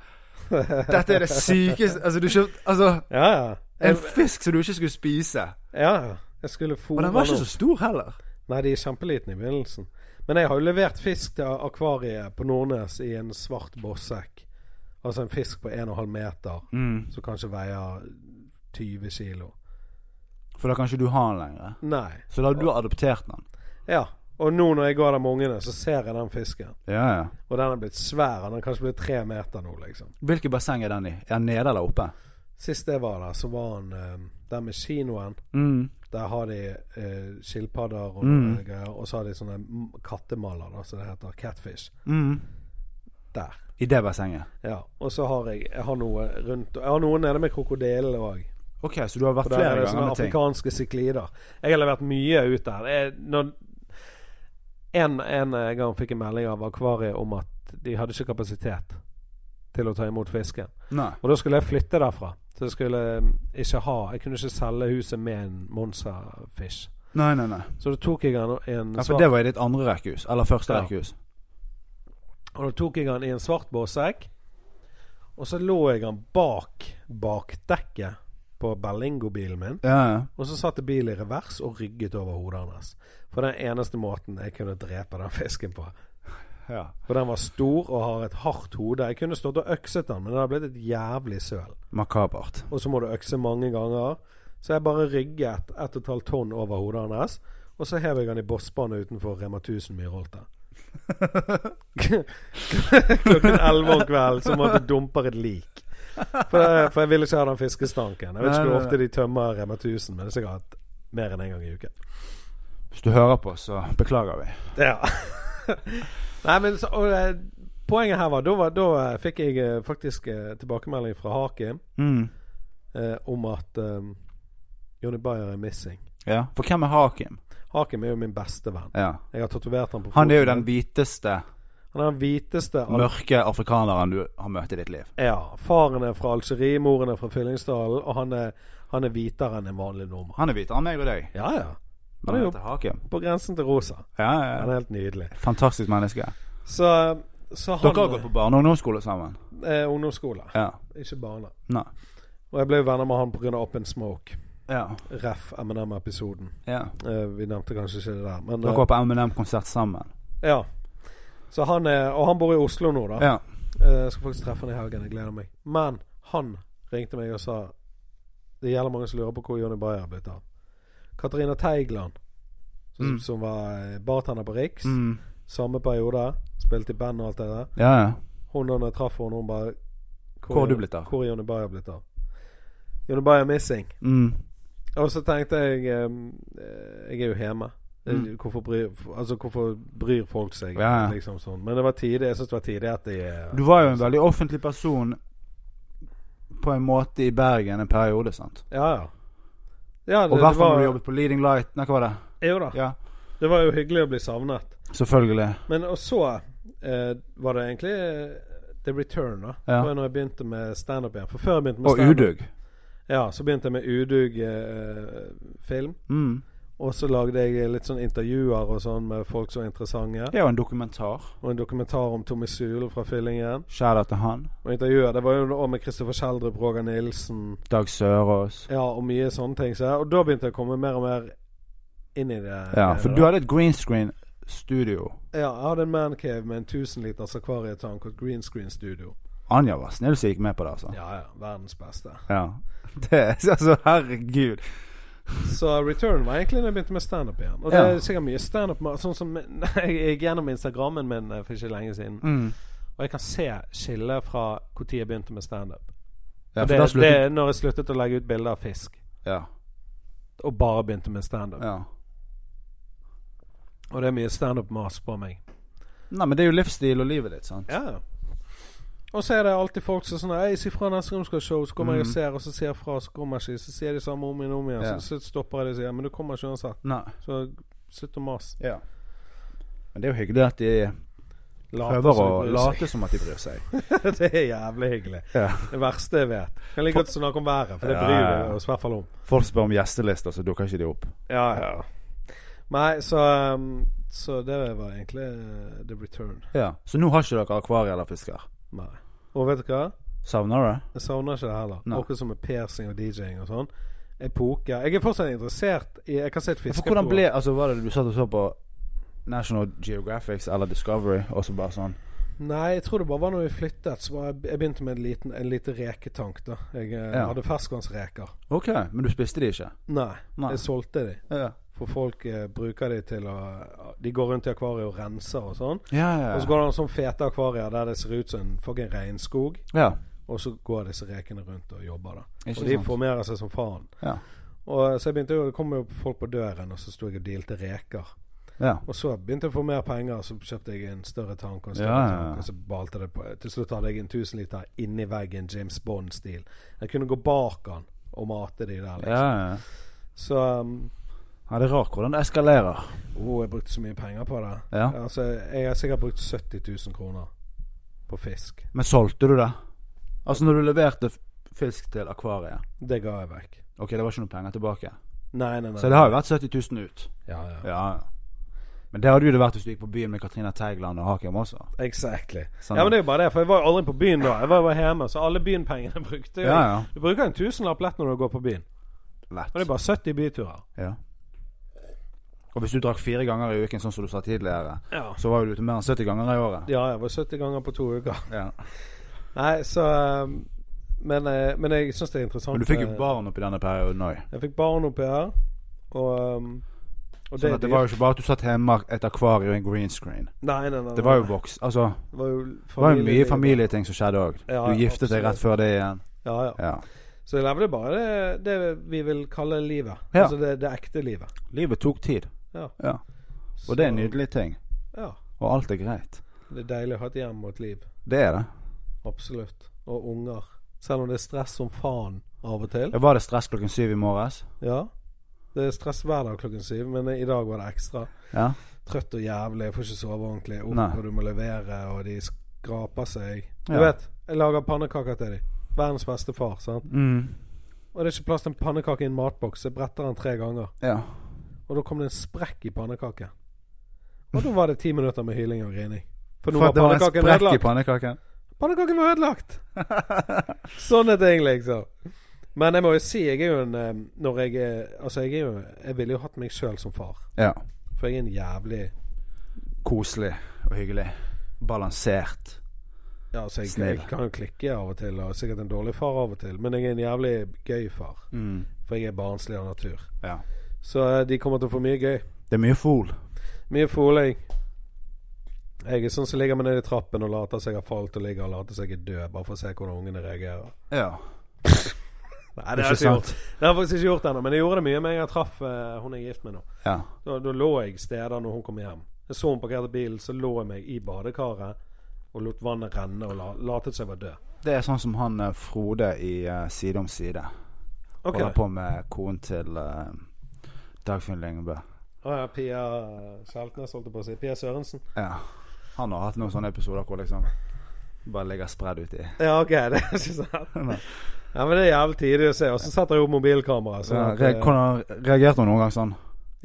B: Dette er det sykeste Altså, du kjøpte Altså,
A: Ja, ja.
B: en
A: Jeg,
B: fisk som du ikke skulle spise.
A: ja, ja. jeg skulle
B: Og
A: fôre
B: den var ikke
A: noe.
B: så stor heller.
A: Nei, de er kjempeliten i begynnelsen. Men jeg har jo levert fisk til akvariet på Nordnes i en svart båssekk. Altså en fisk på 1,5 meter som kanskje veier 20 kilo.
B: For da kan ikke du ha den lenger.
A: Nei.
B: Så da har du adoptert den.
A: Ja. Og nå når jeg går der med ungene, så ser jeg den fisken.
B: Ja, ja.
A: Og den er blitt svær. Den er kanskje blitt tre meter nå, liksom.
B: Hvilket basseng er den i? Er den nede eller oppe?
A: Sist jeg var der, så var han eh, der med kinoen.
B: Mm.
A: Der har de eh, skilpadder og
B: Mm.
A: noe greier. Og så har de sånne m- kattemaller, da, som det heter. Catfish.
B: Mm.
A: Der.
B: I det bassenget.
A: Ja. Og så har jeg, jeg har noe rundt Jeg har noe nede med krokodillene òg.
B: Ok, så du har vært
A: For der er
B: flere
A: det sånn sånne
B: ganger med ting.
A: afrikanske siklider. Jeg har levert mye ut der. Jeg, når, en, en gang fikk jeg melding av akvariet om at de hadde ikke kapasitet til å ta imot fisken.
B: Nei.
A: Og da skulle jeg flytte derfra. Så jeg skulle mm, ikke ha Jeg kunne ikke selge huset med en Monza-fish.
B: Nei, nei, nei.
A: Så da tok jeg den en
B: Ja, for
A: svart,
B: det var i ditt andre rekkehus. Eller første
A: Ja.
B: rekkehus.
A: Og da tok jeg den i en svart båssekk. Og så lå jeg den bak bakdekket på Berlingo-bilen min.
B: Ja, ja.
A: Og så satte bilen i revers og rygget over hodet hans. For den eneste måten jeg kunne drepe den fisken på.
B: ja.
A: For den var stor og har et hardt hode. Jeg kunne stått og økset den, men det hadde blitt et jævlig søl.
B: Makabert.
A: og så må du økse mange ganger. Så jeg bare rygget 1,5 tonn over hodet hans, og så hev jeg han i bossbanen utenfor Rema 1000 Myrholte. Klokken 11 om kvelden så måtte jeg dumpe et lik. For, for jeg ville ikke ha den fiskestanken. Jeg vet
B: Nei,
A: ikke hvor
B: nei,
A: ofte de tømmer Rema 1000, men det er sikkert mer enn én en gang i uken.
B: Hvis du hører på, så beklager vi.
A: Ja. Nei, men så, og, eh, Poenget her var da, var, da eh, fikk jeg eh, faktisk eh, tilbakemelding fra Hakim
B: Mm.
A: eh, om at eh, Johnny Bayer er missing.
B: Ja. For hvem er Hakim?
A: Hakim er jo min beste venn.
B: Ja.
A: Jeg har tatovert han på
B: Han er jo
A: foten.
B: den hviteste,
A: Han er den hviteste al
B: mørke afrikaneren du har møtt i ditt liv.
A: Ja. Faren er fra Algerie, moren er fra Fyllingsdalen, og han er, han er hvitere enn en vanlig nordmann.
B: Han er hvitere enn meg og deg.
A: Ja, ja.
B: Men han heter Hakim.
A: På grensen til rosa.
B: Ja, ja,
A: Han
B: ja.
A: er helt nydelig.
B: Fantastisk menneske.
A: Så, så han
B: Dere har gått på barne- og ungdomsskole sammen?
A: eh, Ungdomsskole,
B: Ja.
A: ikke barne.
B: Nei.
A: Og jeg ble jo venner med han pga. Up in Smoke.
B: Ja.
A: Ref M&M-episoden.
B: ja.
A: Eh, vi nevnte kanskje ikke det der, men
B: Dere var på M&M-konsert sammen?
A: eh, Ja. Så han er, og han bor i Oslo nå, da.
B: Ja.
A: Eh, Jeg skal faktisk treffe han i helgen. Jeg gleder meg. Men han ringte meg og sa Det gjelder mange som lurer på hvor Johnny Bayer er blitt av. Katarina Teigland, som,
B: Mm.
A: som var eh, bartender på Riks,
B: Mm.
A: samme periode, spilte i band og alt det der.
B: Ja, ja.
A: Hun da når jeg traff henne, hun bare
B: Hvor har du blitt av?
A: Hvor er Johnny Bayer blitt av? Johnny Bayer Missing.
B: Mm.
A: Og så tenkte jeg eh, Jeg er jo hjemme. Eh,
B: Mm.
A: Hvorfor, bryr, altså, hvorfor bryr folk seg?
B: Ja, ja.
A: Liksom sånn. Men det var tidlig, jeg syns det var tidlig at de eh,
B: Du var jo en veldig offentlig person på en måte i Bergen en periode, sant?
A: Ja, ja. ja
B: Og i hvert fall når du jobbet på Leading Light. Nei, hva var det?
A: Jo da.
B: Ja,
A: Det var jo hyggelig å bli savnet.
B: selvfølgelig.
A: Men og så eh, var det egentlig eh, The Return, da.
B: Ja.
A: Det var når jeg begynte med standup igjen. For før jeg begynte med
B: Og
A: standup
B: udug.
A: Ja, så begynte jeg med udug-film.
B: Mm.
A: og så lagde jeg litt sånn intervjuer og sånn med folk som var interessante.
B: Det er jo en dokumentar.
A: Og en dokumentar om Tommy Sule fra Fyllingen.
B: Skjæra til han.
A: Og intervjuer Det var jo da med Kristoffer Schjelderup, Roger Nilsen
B: Dag Sørås.
A: Ja, og mye sånne ting. Så, jeg- og da begynte jeg å komme mer og mer inn i det.
B: Ja,
A: greiene
B: for
A: da.
B: du hadde et green screen studio.
A: Ja, jeg hadde en mancave med en 1000 liters akvarietank og et green screen studio.
B: Anja var snill som gikk med på det, altså.
A: Ja, ja, verdens beste.
B: Ja. Det, altså, herregud.
A: Så return var egentlig da jeg begynte med standup igjen. Og det
B: Ja.
A: er sikkert mye standup med- Sånn som Jeg gikk gjennom Instagrammen min eh, for ikke lenge siden,
B: Mm.
A: og jeg kan se skillet fra når jeg begynte med standup.
B: Ja,
A: Og
B: for da
A: det, det
B: sluttet
A: er når jeg sluttet å legge ut bilder av fisk,
B: Ja.
A: og bare begynte med standup.
B: ja.
A: Og det er mye standup-mas på meg.
B: Nei, men det er jo livsstil og livet ditt, sant?
A: Ja. Og så er det alltid folk som sånn Ei, si fra neste gang du skal ha show, så kommer jeg og ser, og så sier jeg fra, så kommer jeg ikke. Så sier de samme om igjen og om igjen.
B: Mhm. Ja.
A: Så, så stopper jeg det og sier Men du kommer ikke uansett.
B: Nei.
A: Så slutt å mase.
B: Ja. Men det er jo hyggelig at de
A: Late
B: prøver å
A: som du bryr
B: late som at de bryr seg.
A: seg. det er jævlig hyggelig.
B: Ja.
A: Det verste jeg vet. Kan like godt snakke om været, for det
B: Ja,
A: bryr
B: ja, ja.
A: vi oss i hvert fall om.
B: Folk spør om gjestelister, så dukker ikke de opp.
A: Ja, ja. Nei, så um, Så det var egentlig uh, the return.
B: Ja. Så nå har ikke dere akvarie eller fisker?
A: Nei. Og vet du hva?
B: Savner du det?
A: Jeg savner ikke det heller.
B: Nei.
A: Akkurat som med piercing og DJ-ing og sånn. Epoke. Jeg er fortsatt interessert i Jeg kan se et
B: Ja,
A: fiske
B: For hvordan ble Altså, var det du satt og så på National Geographic eller Discovery, og så bare sånn
A: Nei, jeg tror det bare var når vi flyttet. Så var jeg, jeg begynte med en liten, en liten reketank. da Jeg eh,
B: Ja.
A: hadde ferskvannsreker.
B: Ok, men du spiste de ikke?
A: Nei,
B: Nei.
A: jeg solgte de.
B: Ja,
A: For folk eh, bruker de til å De går rundt i akvariet og renser og sånn.
B: ja.
A: Og så
B: ja.
A: går det an sånn fete akvarier der det ser ut som en fucking regnskog.
B: ja.
A: Og så går disse rekene rundt og jobber, da.
B: Ikke
A: Og de
B: sant.
A: formerer seg som faen.
B: Ja.
A: Og eh, så jeg begynte jo, det kom jo folk på døren, og så sto jeg og dealte reker.
B: ja.
A: Og så begynte jeg å få mer penger, så kjøpte jeg en større tank. Og en større
B: Ja, ja, ja.
A: tank Og så balte det på Til slutt hadde jeg en 1000 liter inni veggen, James Bond-stil. Jeg kunne gå bak den og mate de der.
B: Ja,
A: Liksom.
B: ja.
A: Så um,
B: ja, det er rart hvordan det eskalerer.
A: oh, jeg brukte så mye penger på det.
B: Ja.
A: Altså, jeg har sikkert brukt 70 000 kroner på fisk.
B: Men solgte du det? Altså, når du leverte f- fisk til akvariet
A: Det ga jeg vekk.
B: Ok, det var ikke noe penger tilbake.
A: Nei, nei, nei.
B: Så det har jo vært 70 000 ut.
A: Ja, ja.
B: Ja, ja. Men det hadde jo det vært hvis du gikk på byen med Katrina Teigland og Hakim også.
A: Exactly.
B: Sånn.
A: Ja, men det er jo bare det, for jeg var jo aldri på byen da. Jeg var jo bare hjemme, så alle byenpengene brukte jeg.
B: Ja, ja.
A: Du bruker en tusenlapp lett når du går på byen. Og det
B: Lett.
A: er bare 70 byturer.
B: Ja. Og hvis du drakk fire ganger i uken, sånn som du sa tidligere,
A: Ja.
B: så var jo du ute mer enn 70 ganger i året.
A: Ja, jeg var 70 ganger på to uker.
B: Ja.
A: Nei, så um, Men, eh, men jeg syns det er interessant.
B: Men du fikk jo
A: eh,
B: barn oppi denne perioden òg.
A: Jeg fikk barn oppi her. Og, um, og
B: Sånn at det
A: dyrt.
B: var jo ikke bare at du satt hjemme et akvarium og en green screen.
A: Nei, nei, nei.
B: Det var jo
A: nei.
B: voks... Altså,
A: Det var jo
B: det var jo mye
A: familieliv.
B: familieting som skjedde òg.
A: Ja,
B: Du giftet deg
A: absolutt.
B: rett før det igjen.
A: Ja, ja.
B: Ja.
A: Så jeg levde bare det, det vi vil kalle livet.
B: Ja.
A: Altså det, det ekte livet.
B: Livet tok tid.
A: Ja.
B: Ja. Og det er
A: Så-
B: en nydelig ting.
A: Ja.
B: Og alt er greit.
A: Det er deilig å ha et hjem og et liv.
B: Det er det.
A: Absolutt. Og unger. Selv om det er stress som faen av og til.
B: Ja, Var det stress klokken syv i morges?
A: Ja. Det er stress hver dag klokken syv, men i dag var det ekstra.
B: Ja.
A: trøtt og jævlig, jeg får ikke sove ordentlig. Opp,
B: Nei.
A: og du må levere, og de skraper seg. Du
B: Ja.
A: vet, jeg lager pannekaker til dem. Verdens beste far, sant.
B: Mm.
A: Og det er ikke plass til en pannekake i en matboks, så jeg bretter den tre ganger.
B: Ja.
A: Og da kom det en sprekk i pannekaken. Og da var det ti minutter med hyling og grining. For nå
B: For
A: var
B: at det var en
A: pannekaken
B: sprekk i
A: ødelagt.
B: pannekaken.
A: Pannekaken var ødelagt! Sånne ting, liksom. Men jeg må jo si, jeg er jo en eh, Når jeg er Altså, jeg er jo Jeg ville jo hatt meg sjøl som far.
B: Ja.
A: For jeg er en jævlig
B: Koselig og hyggelig. Balansert.
A: Ja, altså jeg,
B: Snill.
A: jeg kan jo klikke av og til, og sikkert en dårlig far av og til, men jeg er en jævlig gøy far.
B: Mm.
A: For jeg er barnslig av natur.
B: Ja.
A: Så eh, de kommer til å få mye gøy.
B: Det er mye fol.
A: Mye foling. Jeg er sånn som ligger meg nede i trappen og later som jeg har falt og ligger og later som jeg er død, bare for å se hvordan ungene reagerer.
B: Ja.
A: Nei, det har jeg ikke gjort. Det har jeg faktisk ikke gjort ennå, men jeg gjorde det mye med en gang jeg traff eh, hun jeg er gift med nå.
B: Ja.
A: Da, da lå jeg steder når hun kom hjem. Jeg så hun parkerte bilen, så lå jeg meg i badekaret og lot vannet renne og la, latet som jeg var død.
B: Det er sånn som han eh, Frode i eh, Side om side
A: Ok.
B: holder på med konen til eh, Dagfinn Lyngbø.
A: Å ja, Pia Skjeltnes, holdt jeg på å si. Pia Sørensen.
B: Ja. Han har hatt noen sånne episoder hvor liksom bare ligger spredd uti.
A: Ja, OK. Det er ikke sant.
B: Nei.
A: Ja, men det er jævlig tidlig å se. Og så setter jeg opp mobilkamera.
B: Ja,
A: sånn at,
B: re-
A: eh,
B: hvordan reagerte hun noen gang sånn?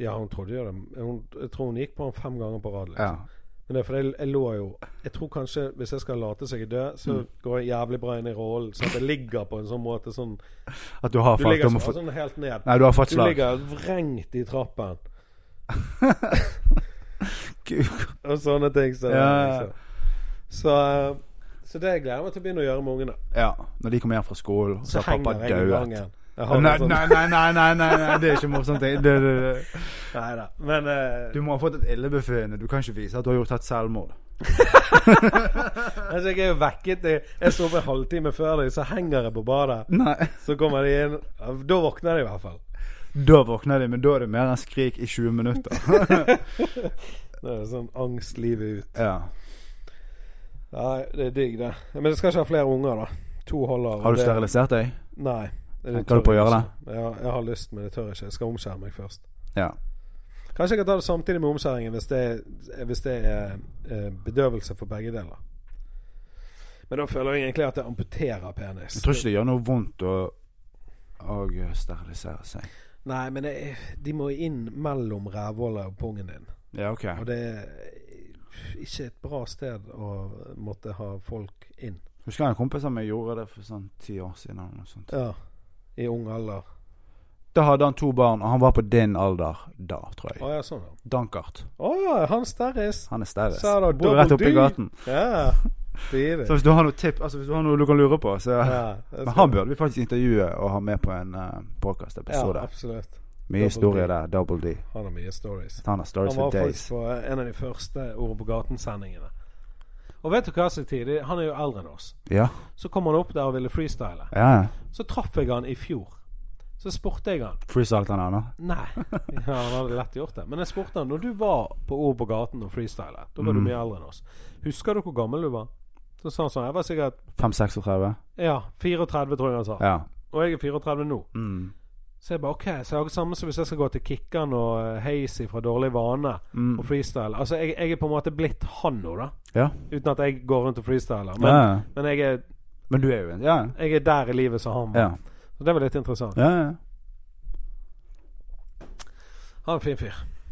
A: ja, hun trodde jo det. Hun, jeg tror hun gikk på den fem ganger på rad. liksom.
B: Ja.
A: Men det er fordi jeg, jeg lå jo Jeg tror kanskje hvis jeg skal late som jeg er død, så
B: Mm.
A: går jeg jævlig bra inn i rollen. Så at jeg ligger på en sånn måte sånn
B: At du har
A: Du
B: falt
A: ligger
B: om å
A: sånn,
B: få
A: sånn helt ned.
B: Nei, du har fått
A: Du
B: slag.
A: ligger vrengt i trappen.
B: Gud.
A: Og sånne ting. Så,
B: Ja, ja.
A: så. Så, eh, så det gleder jeg meg til å begynne å gjøre med ungene.
B: Ja. Når de kommer hjem fra skolen, så
A: Så
B: har pappa
A: henger jeg i
B: dauet.
A: gangen. Jeg har
B: Nei,
A: en sånn-
B: nei, nei, nei, nei, nei, nei, det er ikke morsomt. Det, det, det, det.
A: Neida. Men eh,
B: Du må ha fått et illebefinnende. Du kan ikke vise at du har gjort et selvmord.
A: altså, jeg er jo vekket. Jeg, jeg sover en halvtime før deg, så henger jeg på badet.
B: Nei.
A: Så kommer de inn. Ja, Da våkner de i hvert fall.
B: Da våkner de, men da er det mer enn skrik i 20 minutter.
A: Det er sånn angst livet ut.
B: Ja.
A: Nei, det er digg, det. Men jeg skal ikke ha flere unger, da. To holder. og
B: Har du
A: det-
B: sterilisert deg?
A: Nei.
B: Tenker du på å gjøre
A: det? Ja, jeg har lyst, men jeg tør ikke. Jeg skal omskjære meg først.
B: Ja.
A: Kanskje jeg kan ta det samtidig med omskjæringen hvis det, er- hvis det er eh, bedøvelse for begge deler. Men da føler jeg egentlig at jeg amputerer penis.
B: Jeg tror ikke det gjør noe vondt å, å sterilisere seg.
A: Nei, men det, de må inn mellom rævhullet og pungen din.
B: Ja, ok.
A: Og det er ikke et bra sted å måtte ha folk inn.
B: Husker jeg en kompis av meg gjorde det for sånn ti år siden. eller noe sånt.
A: Ja. I ung alder.
B: Da hadde han to barn, og han var på din alder da, tror jeg.
A: Å ja, sånn, ja.
B: Dankart.
A: Å, Hans Terris.
B: Han er sterris.
A: Så er det
B: Bor rett
A: double
B: oppi
A: D.
B: gaten.
A: Ja. Stilig.
B: Så hvis du har noe tipp, altså hvis du har noe du kan lure på, så
A: Ja, det
B: Men
A: skal-
B: han burde vi faktisk intervjue og ha med på en uh, podcast-episode.
A: Ja, absolutt.
B: Mye
A: Double
B: historie
A: D.
B: der. Double D.
A: Han har mye stories.
B: Han har stories
A: Han var
B: for
A: faktisk
B: days.
A: på en av de første Ord på gaten-sendingene. Og vet du hva som er tidlig? Han er jo eldre enn oss.
B: Ja,
A: Så kom han opp der og ville freestyle.
B: ja. ja.
A: Så traff jeg han i fjor. Så spurte jeg han
B: Freestyle han ennå.
A: Nei, ja, han hadde lett gjort det. Men jeg spurte han når du var på Ord på gaten og freestylet. Da var du
B: Mhm.
A: mye eldre enn oss. Husker du hvor gammel du var? Så sa han sånn Jeg var sikkert
B: 5-36.
A: ja, 34, tror jeg han sa.
B: Ja.
A: Og jeg er 34 nå.
B: Mm.
A: Så jeg bare OK, så jeg har det samme som hvis jeg skal gå til Kikkan og eh, Hazy fra Dårlig vane
B: Mm.
A: og freestyle. Altså, jeg, jeg er på en måte blitt han nå, da.
B: Ja.
A: Uten at jeg går rundt og freestyler.
B: Men,
A: Men,
B: ja. ja.
A: men jeg, er,
B: Men du er jo en Ja, ja.
A: jeg er der i livet som han var.
B: ja.
A: Så det var litt interessant.
B: ja, ja.
A: Han er en fin fyr.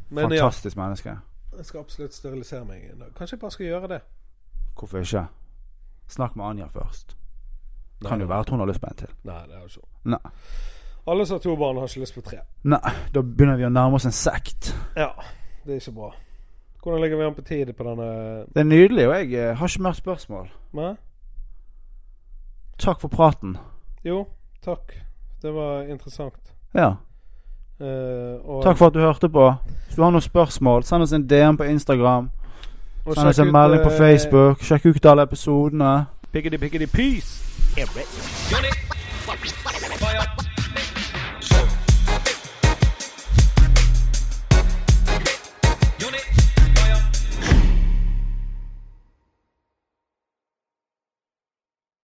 A: Men
B: Fantastisk menneske.
A: ja, jeg skal absolutt sterilisere meg. en dag. Kanskje jeg bare skal gjøre det.
B: Hvorfor ikke? Snakk med Anja først. Kan jo være at hun har lyst på en til.
A: Nei, det har jeg ikke.
B: Nei.
A: Alle som har to barn, har ikke lyst på tre.
B: Nei, da begynner vi å nærme oss en sekt.
A: Ja, det er ikke bra. Hvordan ligger vi an på tid på denne
B: Det er nydelig, og jeg eh, har ikke mer spørsmål.
A: Nei?
B: Takk for praten.
A: Jo, takk. Det var interessant.
B: Ja.
A: Eh, og,
B: Takk for at du hørte på. Hvis du har noen spørsmål, send oss en DM på Instagram.
A: og
B: Send oss
A: sjekk
B: en
A: ut,
B: melding på
A: eh,
B: Facebook. Sjekk ut alle episodene.
A: Piggity, piggity, peace!
C: Unit. Fire.